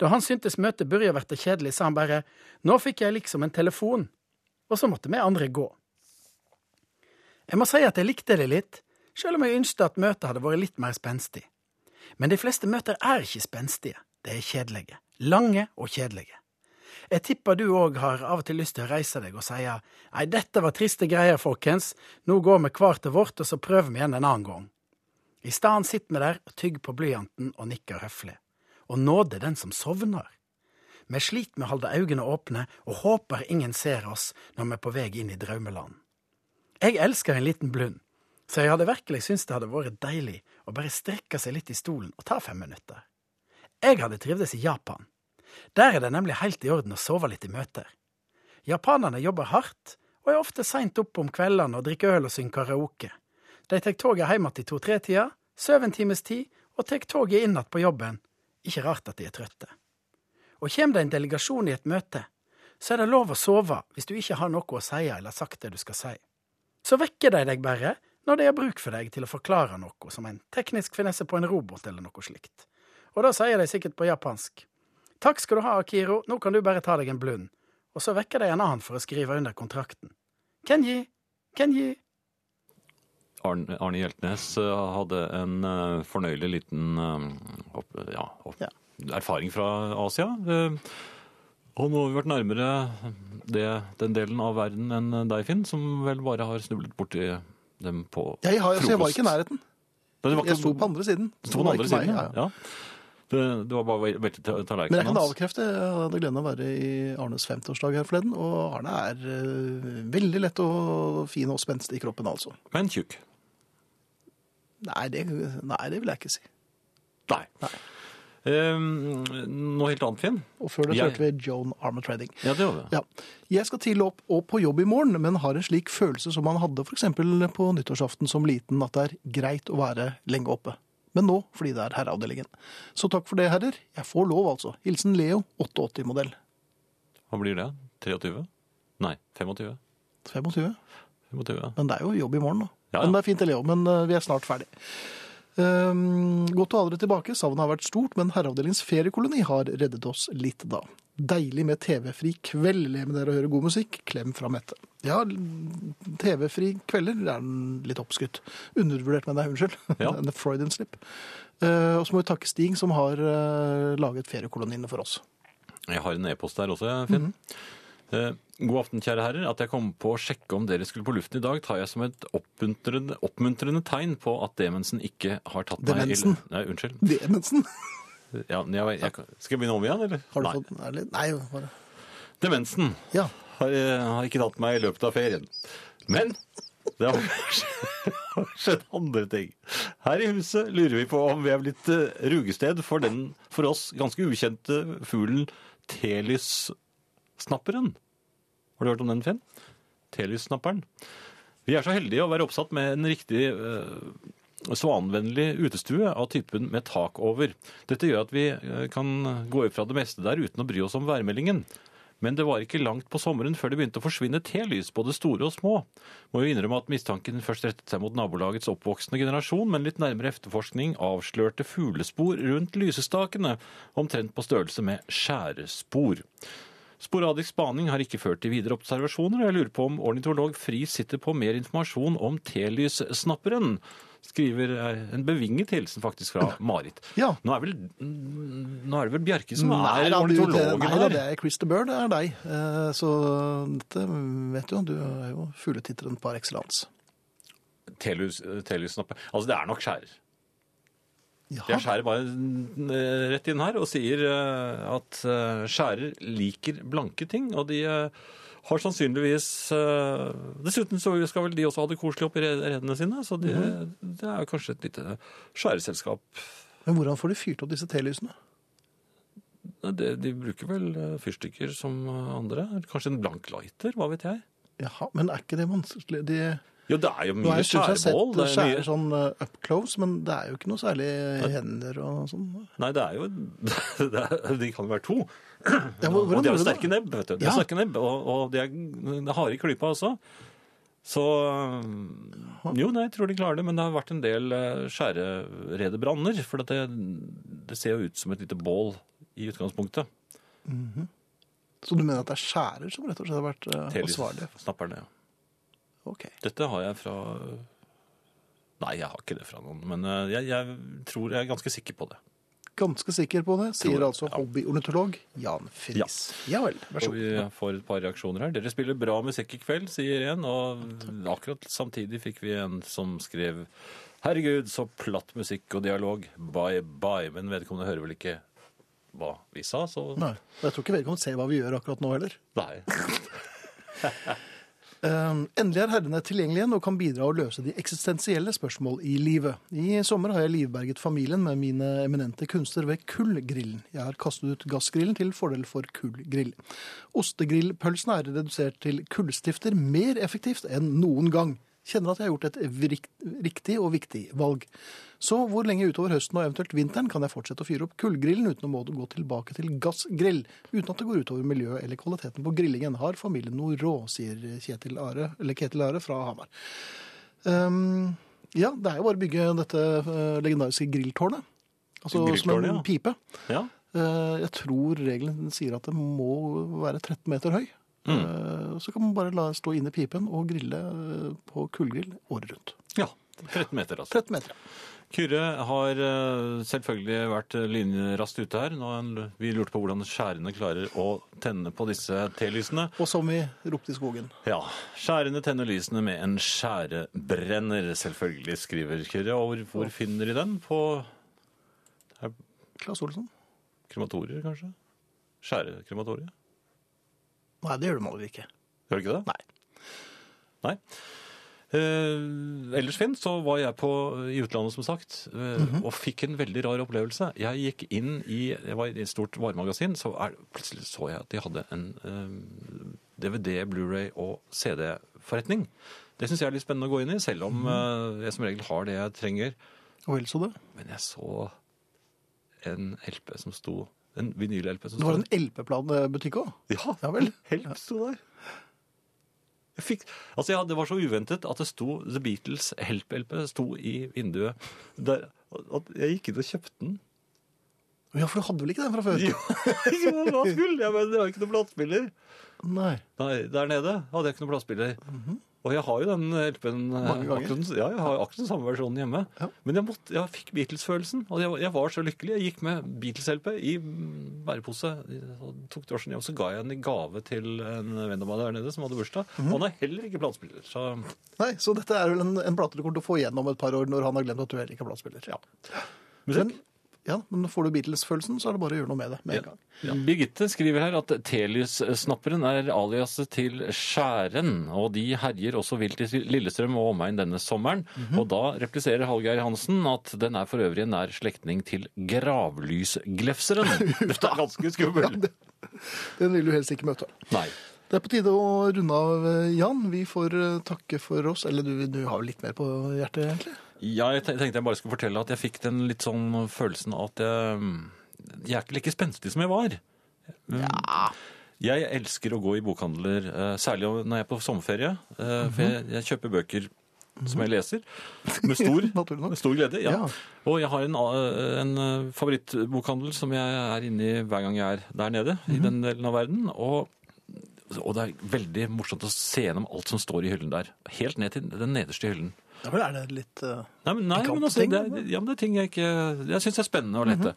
[SPEAKER 1] Da han syntes møtet burde vært kjedelig, sa han bare nå fikk jeg liksom en telefon, og så måtte vi andre gå. Jeg må si at jeg likte det litt, selv om jeg ønsket at møtet hadde vært litt mer spenstig. Men de fleste møter er ikke spenstige, de er kjedelige. Lange og kjedelige. Jeg tipper du òg har av og til lyst til å reise deg og si nei, dette var triste greier, folkens, nå går vi hver til vårt, og så prøver vi igjen en annen gang. I stedet sitter vi der og tygger på blyanten og nikker høflig. Og nåde den som sovner. Vi sliter med å holde øynene åpne og håper ingen ser oss når vi er på vei inn i drømmeland. Jeg elsker en liten blund, så jeg hadde virkelig syntes det hadde vært deilig å bare strekke seg litt i stolen og ta fem minutter. Jeg hadde trivdes i Japan. Der er det nemlig helt i orden å sove litt i møter. Japanerne jobber hardt, og er ofte seint oppe om kveldene og drikker øl og synger karaoke. De tar toget hjem igjen i to-tre-tida, sover en times tid, og tar toget inn igjen på jobben. Ikke rart at de er trøtte. Og kommer det en delegasjon i et møte, så er det lov å sove hvis du ikke har noe å si eller sagt det du skal si. Så vekker de deg bare når de har bruk for deg til å forklare noe, som en teknisk finesse på en robot eller noe slikt. Og da sier de sikkert på japansk. Takk skal du ha, Akiro, nå kan du bare ta deg en blund. Og så vekker de en annen for å skrive under kontrakten. Kenji, Kenji.
[SPEAKER 3] Arne, Arne Hjeltnes eh, hadde en eh, fornøyelig liten eh, opp, ja, opp,
[SPEAKER 2] Ja.
[SPEAKER 3] erfaring fra Asia. Eh, Og nå har vi vært nærmere det, den delen av verden enn deg, Finn, som vel bare har snublet borti dem på
[SPEAKER 2] Jeg, har, altså, jeg var ikke i nærheten.
[SPEAKER 3] Nei, det var ikke-
[SPEAKER 2] Jeg sto på andre siden.
[SPEAKER 3] Du sto på den
[SPEAKER 2] Det
[SPEAKER 3] andre
[SPEAKER 2] var ikke
[SPEAKER 3] siden,
[SPEAKER 2] meg,
[SPEAKER 3] ja. ja. Det, det var bare å velte ta-
[SPEAKER 2] Men jeg
[SPEAKER 3] tallerkenen
[SPEAKER 2] kan
[SPEAKER 3] hans.
[SPEAKER 2] avkrefte. Jeg hadde gleden av å være i Arnes 50-årsdag her forleden, og Arne er eh, veldig lett og fin og spenstig i kroppen, altså.
[SPEAKER 3] Men tjukk.
[SPEAKER 2] Nei det, nei, det vil jeg ikke si.
[SPEAKER 3] Nei. Eh, noe helt annet, Finn?
[SPEAKER 2] Og før det
[SPEAKER 3] Jeg-
[SPEAKER 2] hørte vi Joan Armatrading.
[SPEAKER 3] Ja, det gjorde vi.
[SPEAKER 2] Ja. Jeg skal tidlig opp og på jobb i morgen, men har en slik følelse som man hadde f.eks. på nyttårsaften som liten, at det er greit å være lenge oppe. Men nå, fordi det er herreavdelingen. Så takk for det, herrer. Jeg får lov, altså. Hilsen Leo, 88-modell.
[SPEAKER 3] Hva blir det? 23? Nei, 25?
[SPEAKER 2] 25.
[SPEAKER 3] 25, ja.
[SPEAKER 2] Men det er jo jobb i morgen, da.
[SPEAKER 3] Ja, ja.
[SPEAKER 2] Men det er fint, det, Leo. Men eh, vi er snart ferdig. Ehm, godt å ha dere tilbake. Savnet har vært stort, men Herreavdelingens feriekoloni har reddet oss litt da. Deilig med TV-fri kveld. Le med dere og høre god musikk. Klem fra Mette. Ja, TV-fri kvelder det er den litt oppskutt. Undervurdert, mener jeg. Unnskyld.
[SPEAKER 3] Ja.
[SPEAKER 2] en Freudian slip. Eh, og så må vi takke Stig, som har eh, laget feriekoloniene for oss.
[SPEAKER 3] Jeg har en e-post der også, Finn.
[SPEAKER 2] Mhm.
[SPEAKER 3] Eh, God aften, kjære herrer. At jeg kom på å sjekke om dere skulle på luften i dag, tar jeg som et oppmuntrende, oppmuntrende tegn på at demensen ikke har tatt
[SPEAKER 2] Demensen?
[SPEAKER 3] meg i Nei, unnskyld.
[SPEAKER 2] Demensen!
[SPEAKER 3] Ja, men jeg, jeg, skal jeg begynne om igjen, eller?
[SPEAKER 2] Har du
[SPEAKER 3] Nei.
[SPEAKER 2] fått er det- Nei, bare
[SPEAKER 3] Demensen
[SPEAKER 2] Ja.
[SPEAKER 3] har, eh, har ikke tatt meg i løpet av ferien. Men det har skjedd- skjedd andre ting. Her i huset lurer vi på om vi er blitt eh, rugested for den for oss ganske ukjente fuglen Telis-snapperen. Har du hørt om den, Finn? Telis-snapperen. Vi er så heldige å være oppsatt med en riktig eh, svanvennlig utestue av typen med tak over. Dette gjør at vi eh, kan gå ut fra det meste der uten å bry oss om værmeldingen. Men det var ikke langt på sommeren før det begynte å forsvinne telys, både store og små. Må jo innrømme at mistanken først rettet seg mot nabolagets oppvoksende generasjon, men litt nærmere efterforskning avslørte fuglespor rundt lysestakene, omtrent på størrelse med skjærespor. Sporadisk spaning har ikke ført til videre observasjoner, og jeg lurer på om ornitolog Friis sitter på mer informasjon om telys-snapperen, skriver eh, en bevinget hilsen faktisk fra Marit.
[SPEAKER 2] Ja.
[SPEAKER 3] Nå er, vel, mm, nå er det vel Bjerke som
[SPEAKER 2] Nei, da, du,
[SPEAKER 3] er
[SPEAKER 2] det,
[SPEAKER 3] ornitologen
[SPEAKER 2] nei da,
[SPEAKER 3] her?
[SPEAKER 2] det er Chris de Burr, det er deg. Eh, Så dette vet du, du er jo fugletitteren par excellence.
[SPEAKER 3] Telus- Telus-snappe. Altså, det er nok skjærer.
[SPEAKER 2] Jaha.
[SPEAKER 3] Jeg skjærer bare eh, rett inn her og sier eh, at eh, skjærer liker blanke ting, og de eh, har sannsynligvis eh, Dessuten så skal vel de også ha det koselig oppi re- redene sine, så de, det er jo kanskje et lite skjæreselskap.
[SPEAKER 2] Men hvordan får de fyrt opp disse telysene?
[SPEAKER 3] De, de bruker vel eh, fyrstikker som eh, andre. Kanskje en blank lighter, hva vet jeg.
[SPEAKER 2] Jaha, men er ikke det vanskelig? De,
[SPEAKER 3] Jo, det er jo
[SPEAKER 2] nå har
[SPEAKER 3] mye
[SPEAKER 2] jeg stort sett
[SPEAKER 3] skjærebål.
[SPEAKER 2] sett
[SPEAKER 3] Det er mye-
[SPEAKER 2] skjære sånn eh, up close, men det er jo ikke noe særlig hender og sånn.
[SPEAKER 3] Nei, det er jo det er, De kan jo være to.
[SPEAKER 2] Ja, hvor-
[SPEAKER 3] og
[SPEAKER 2] hvordan
[SPEAKER 3] de har
[SPEAKER 2] gjør
[SPEAKER 3] jo
[SPEAKER 2] du det?
[SPEAKER 3] sterke nebb, vet du. De har
[SPEAKER 2] Ja.
[SPEAKER 3] sterke nebb, og, og de er det er harde i klypa også. Så øhm, Jo, nei, jeg tror de klarer det, men det har vært en del eh, skjærerede branner. For at det, det ser jo ut som et lite bål i utgangspunktet.
[SPEAKER 2] Så du mener at det er skjærer som rett og slett har vært eh,
[SPEAKER 3] Telys-
[SPEAKER 2] ansvarlig?
[SPEAKER 3] snapperne, ja.
[SPEAKER 2] Ok.
[SPEAKER 3] Dette har jeg fra Nei, jeg har ikke det fra noen, men eh, jeg, jeg tror jeg er ganske sikker på det.
[SPEAKER 2] Ganske sikker på det, sier
[SPEAKER 3] Tror-
[SPEAKER 2] altså
[SPEAKER 3] ja.
[SPEAKER 2] hobbyornitolog Jan Friis. Ja. vel, vær så
[SPEAKER 3] Og
[SPEAKER 2] god.
[SPEAKER 3] vi får et par reaksjoner her. Dere spiller bra musikk i kveld, sier en. Og akkurat samtidig fikk vi en som skrev Herregud, så platt musikk og dialog. Bye bye. Men vedkommende hører vel ikke hva vi sa, så
[SPEAKER 2] Nei, og jeg tror ikke vedkommende ser hva vi gjør akkurat nå heller.
[SPEAKER 3] Nei.
[SPEAKER 2] Eh, endelig er herrene tilgjengelige igjen og kan bidra å løse de eksistensielle spørsmål i livet. I sommer har jeg livberget familien med mine eminente kunster ved kullgrillen. Jeg har kastet ut gassgrillen til fordel for kullgrill. Ostegrillpølsene er redusert til kullstifter mer effektivt enn noen gang. Kjenner at jeg har gjort et vrikt- riktig og viktig valg. Så hvor lenge utover høsten og eventuelt vinteren kan jeg fortsette å fyre opp kullgrillen uten å må gå tilbake til gassgrill, uten at det går utover miljøet eller kvaliteten på grillingen? Har familien noe råd, sier Kjetil Are, eller Ketil Are fra Hamar. Ehm, ja, det er jo bare å bygge dette eh, legendariske grilltårnet. Altså som
[SPEAKER 3] Grilltårnet,
[SPEAKER 2] en
[SPEAKER 3] ja.
[SPEAKER 2] pipe.
[SPEAKER 3] Ja.
[SPEAKER 2] Eh, jeg tror regelen sier at det må være 13 meter høy. Eh, så kan man bare la det stå inne i pipen og grille eh, på kullgrill året rundt.
[SPEAKER 3] ja. 13 meter, altså.
[SPEAKER 2] 13 meter.
[SPEAKER 3] Kyrre har eh, selvfølgelig vært lynraskt ute her. Nå, han- vi lurte på hvordan skjærene klarer å tenne på disse telysene.
[SPEAKER 2] Og som vi ropte i skogen.
[SPEAKER 3] Ja. Skjærene tenner lysene med en skjærebrenner, selvfølgelig, skriver Kyrre. Og hvor, hvor finner de den? På
[SPEAKER 2] Claes Olsson?
[SPEAKER 3] krematorier, kanskje? Skjærekrematoriet?
[SPEAKER 2] Nei, det gjør de aldri ikke.
[SPEAKER 3] Gjør det ikke det?
[SPEAKER 2] Nei.
[SPEAKER 3] Nei. Eh, ellers, Finn, så var jeg på, i utlandet, som sagt, eh,
[SPEAKER 2] Mhm.
[SPEAKER 3] og fikk en veldig rar opplevelse. Jeg gikk inn i Jeg var i et stort varemagasin, så er, plutselig så jeg at de hadde en eh, DVD, Blu-ray og CD-forretning. Det syns jeg er litt spennende å gå inn i, selv
[SPEAKER 2] Mhm.
[SPEAKER 3] om eh, jeg som regel har det jeg trenger.
[SPEAKER 2] Og vel så det.
[SPEAKER 3] Men jeg så en LP som sto En vinyl-LP som
[SPEAKER 2] Det
[SPEAKER 3] sto
[SPEAKER 2] var en LP-butikk òg.
[SPEAKER 3] Ja,
[SPEAKER 2] Ja vel.
[SPEAKER 3] Help sto der. Jeg fikk, altså ja, Det var så uventet at det sto The Beatles Help-LP sto i vinduet. Der, at jeg gikk inn og kjøpte den.
[SPEAKER 2] Ja, for du hadde vel ikke den fra før?
[SPEAKER 3] Jo, jo, hva skulle jeg? Men det var ikke noen platespiller.
[SPEAKER 2] Nei.
[SPEAKER 3] Nei, der nede hadde jeg ikke noen platespiller. Og jeg har jo den
[SPEAKER 2] Mhm.
[SPEAKER 3] LP-en. eh,
[SPEAKER 2] Mange ganger.
[SPEAKER 3] akkurat den- Ja, jeg har akkurat den samme versjonen hjemme.
[SPEAKER 2] Ja.
[SPEAKER 3] Men jeg, måtte, jeg fikk Beatles-følelsen. Og jeg, jeg var så lykkelig. Jeg gikk med Beatles-LP i mm, bærepose. i- og Tok drosjen hjem, så ga jeg den i gave til en venn av meg der nede som hadde bursdag.
[SPEAKER 2] Mhm.
[SPEAKER 3] Og han er heller ikke platespiller. Så
[SPEAKER 2] Nei, Så dette er vel en, en plate du kommer til å få igjen om et par år, når han har glemt at du heller ikke har platespiller. Ja.
[SPEAKER 3] musikk.
[SPEAKER 2] Men, ja, men får du Beatles-følelsen, så er det bare å gjøre noe med det med en gang.
[SPEAKER 3] Birgitte skriver her at Telius-snapperen er aliaset til Skjæren, og de herjer også vilt i Lillestrøm og omegn denne sommeren. Og da repliserer Hallgeir Hansen at den er for øvrig en nær slektning til Gravlysglefseren. Dette er ganske skummelt.
[SPEAKER 2] Den vil du helst ikke møte.
[SPEAKER 3] Nei.
[SPEAKER 2] Det er på tide å runde av, eh, Jan. Vi får eh, takke for oss. Eller du, du har jo litt mer på hjertet, egentlig?
[SPEAKER 3] Ja, jeg te- tenkte jeg bare skulle fortelle at jeg fikk den litt sånn følelsen at jeg, jeg er ikke like spenstig som jeg var. Mm. Jeg elsker å gå i bokhandler, eh, særlig om- når jeg er på sommerferie. eh, For
[SPEAKER 2] Mhm.
[SPEAKER 3] jeg, jeg kjøper bøker som jeg leser, med stor,
[SPEAKER 2] Naturlig nok.
[SPEAKER 3] med stor glede. Ja.
[SPEAKER 2] Ja.
[SPEAKER 3] Og jeg har en, a- en eh, favorittbokhandel som jeg er inne i hver gang jeg er der nede,
[SPEAKER 2] Mhm.
[SPEAKER 3] i den delen av verden. Og, og det er veldig morsomt å se gjennom alt som står i hyllen der. Helt ned til den nederste hyllen.
[SPEAKER 2] Ja, vel er det litt eh,
[SPEAKER 3] Nei, men, nei,
[SPEAKER 2] Pikante
[SPEAKER 3] men altså,
[SPEAKER 2] ting,
[SPEAKER 3] det, er, ja, men Mhm. det er ting jeg ikke Jeg syns det er spennende å lete.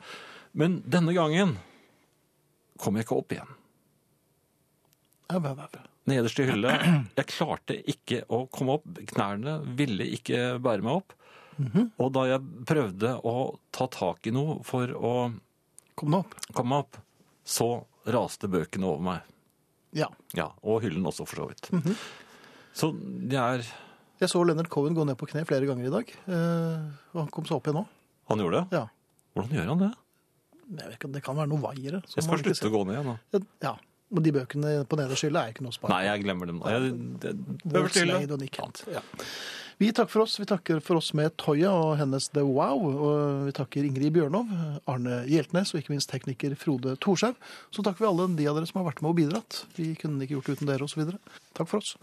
[SPEAKER 3] Men denne gangen kom jeg ikke opp igjen.
[SPEAKER 2] ja, bæ, bæ, bæ.
[SPEAKER 3] Nederste hylle. Jeg klarte ikke å komme opp. Knærne ville ikke bære meg opp. Og da jeg prøvde å ta tak i noe for å
[SPEAKER 2] Kom nå opp.
[SPEAKER 3] komme meg opp, så raste bøkene over meg.
[SPEAKER 2] Ja.
[SPEAKER 3] Ja, Og hyllen også, for så vidt. Så det er
[SPEAKER 2] Jeg så Leonard Cohen gå ned på kne flere ganger i dag. eh, Og han kom seg opp igjen nå.
[SPEAKER 3] Han gjorde det?
[SPEAKER 2] Ja.
[SPEAKER 3] Hvordan gjør han det?
[SPEAKER 2] Jeg vet ikke, det kan være noe vaiere.
[SPEAKER 3] Jeg skal slutte å gå ned nå.
[SPEAKER 2] Ja, men de bøkene på nederste hylle er ikke noe spar.
[SPEAKER 3] Nei, jeg glemmer dem nå. Jeg- det-
[SPEAKER 2] Vår
[SPEAKER 3] Øverste hylle.
[SPEAKER 2] Slade og Nick Hunt. Ja. Vi takker for oss. Vi takker for oss med Toya og hennes The Wow. Og vi takker Ingrid Bjørnov, Arne Hjeltnes og ikke minst tekniker Frode Thorshaug. Så takker vi alle de av dere som har vært med og bidratt. Vi kunne ikke gjort det uten dere osv. Takk for oss.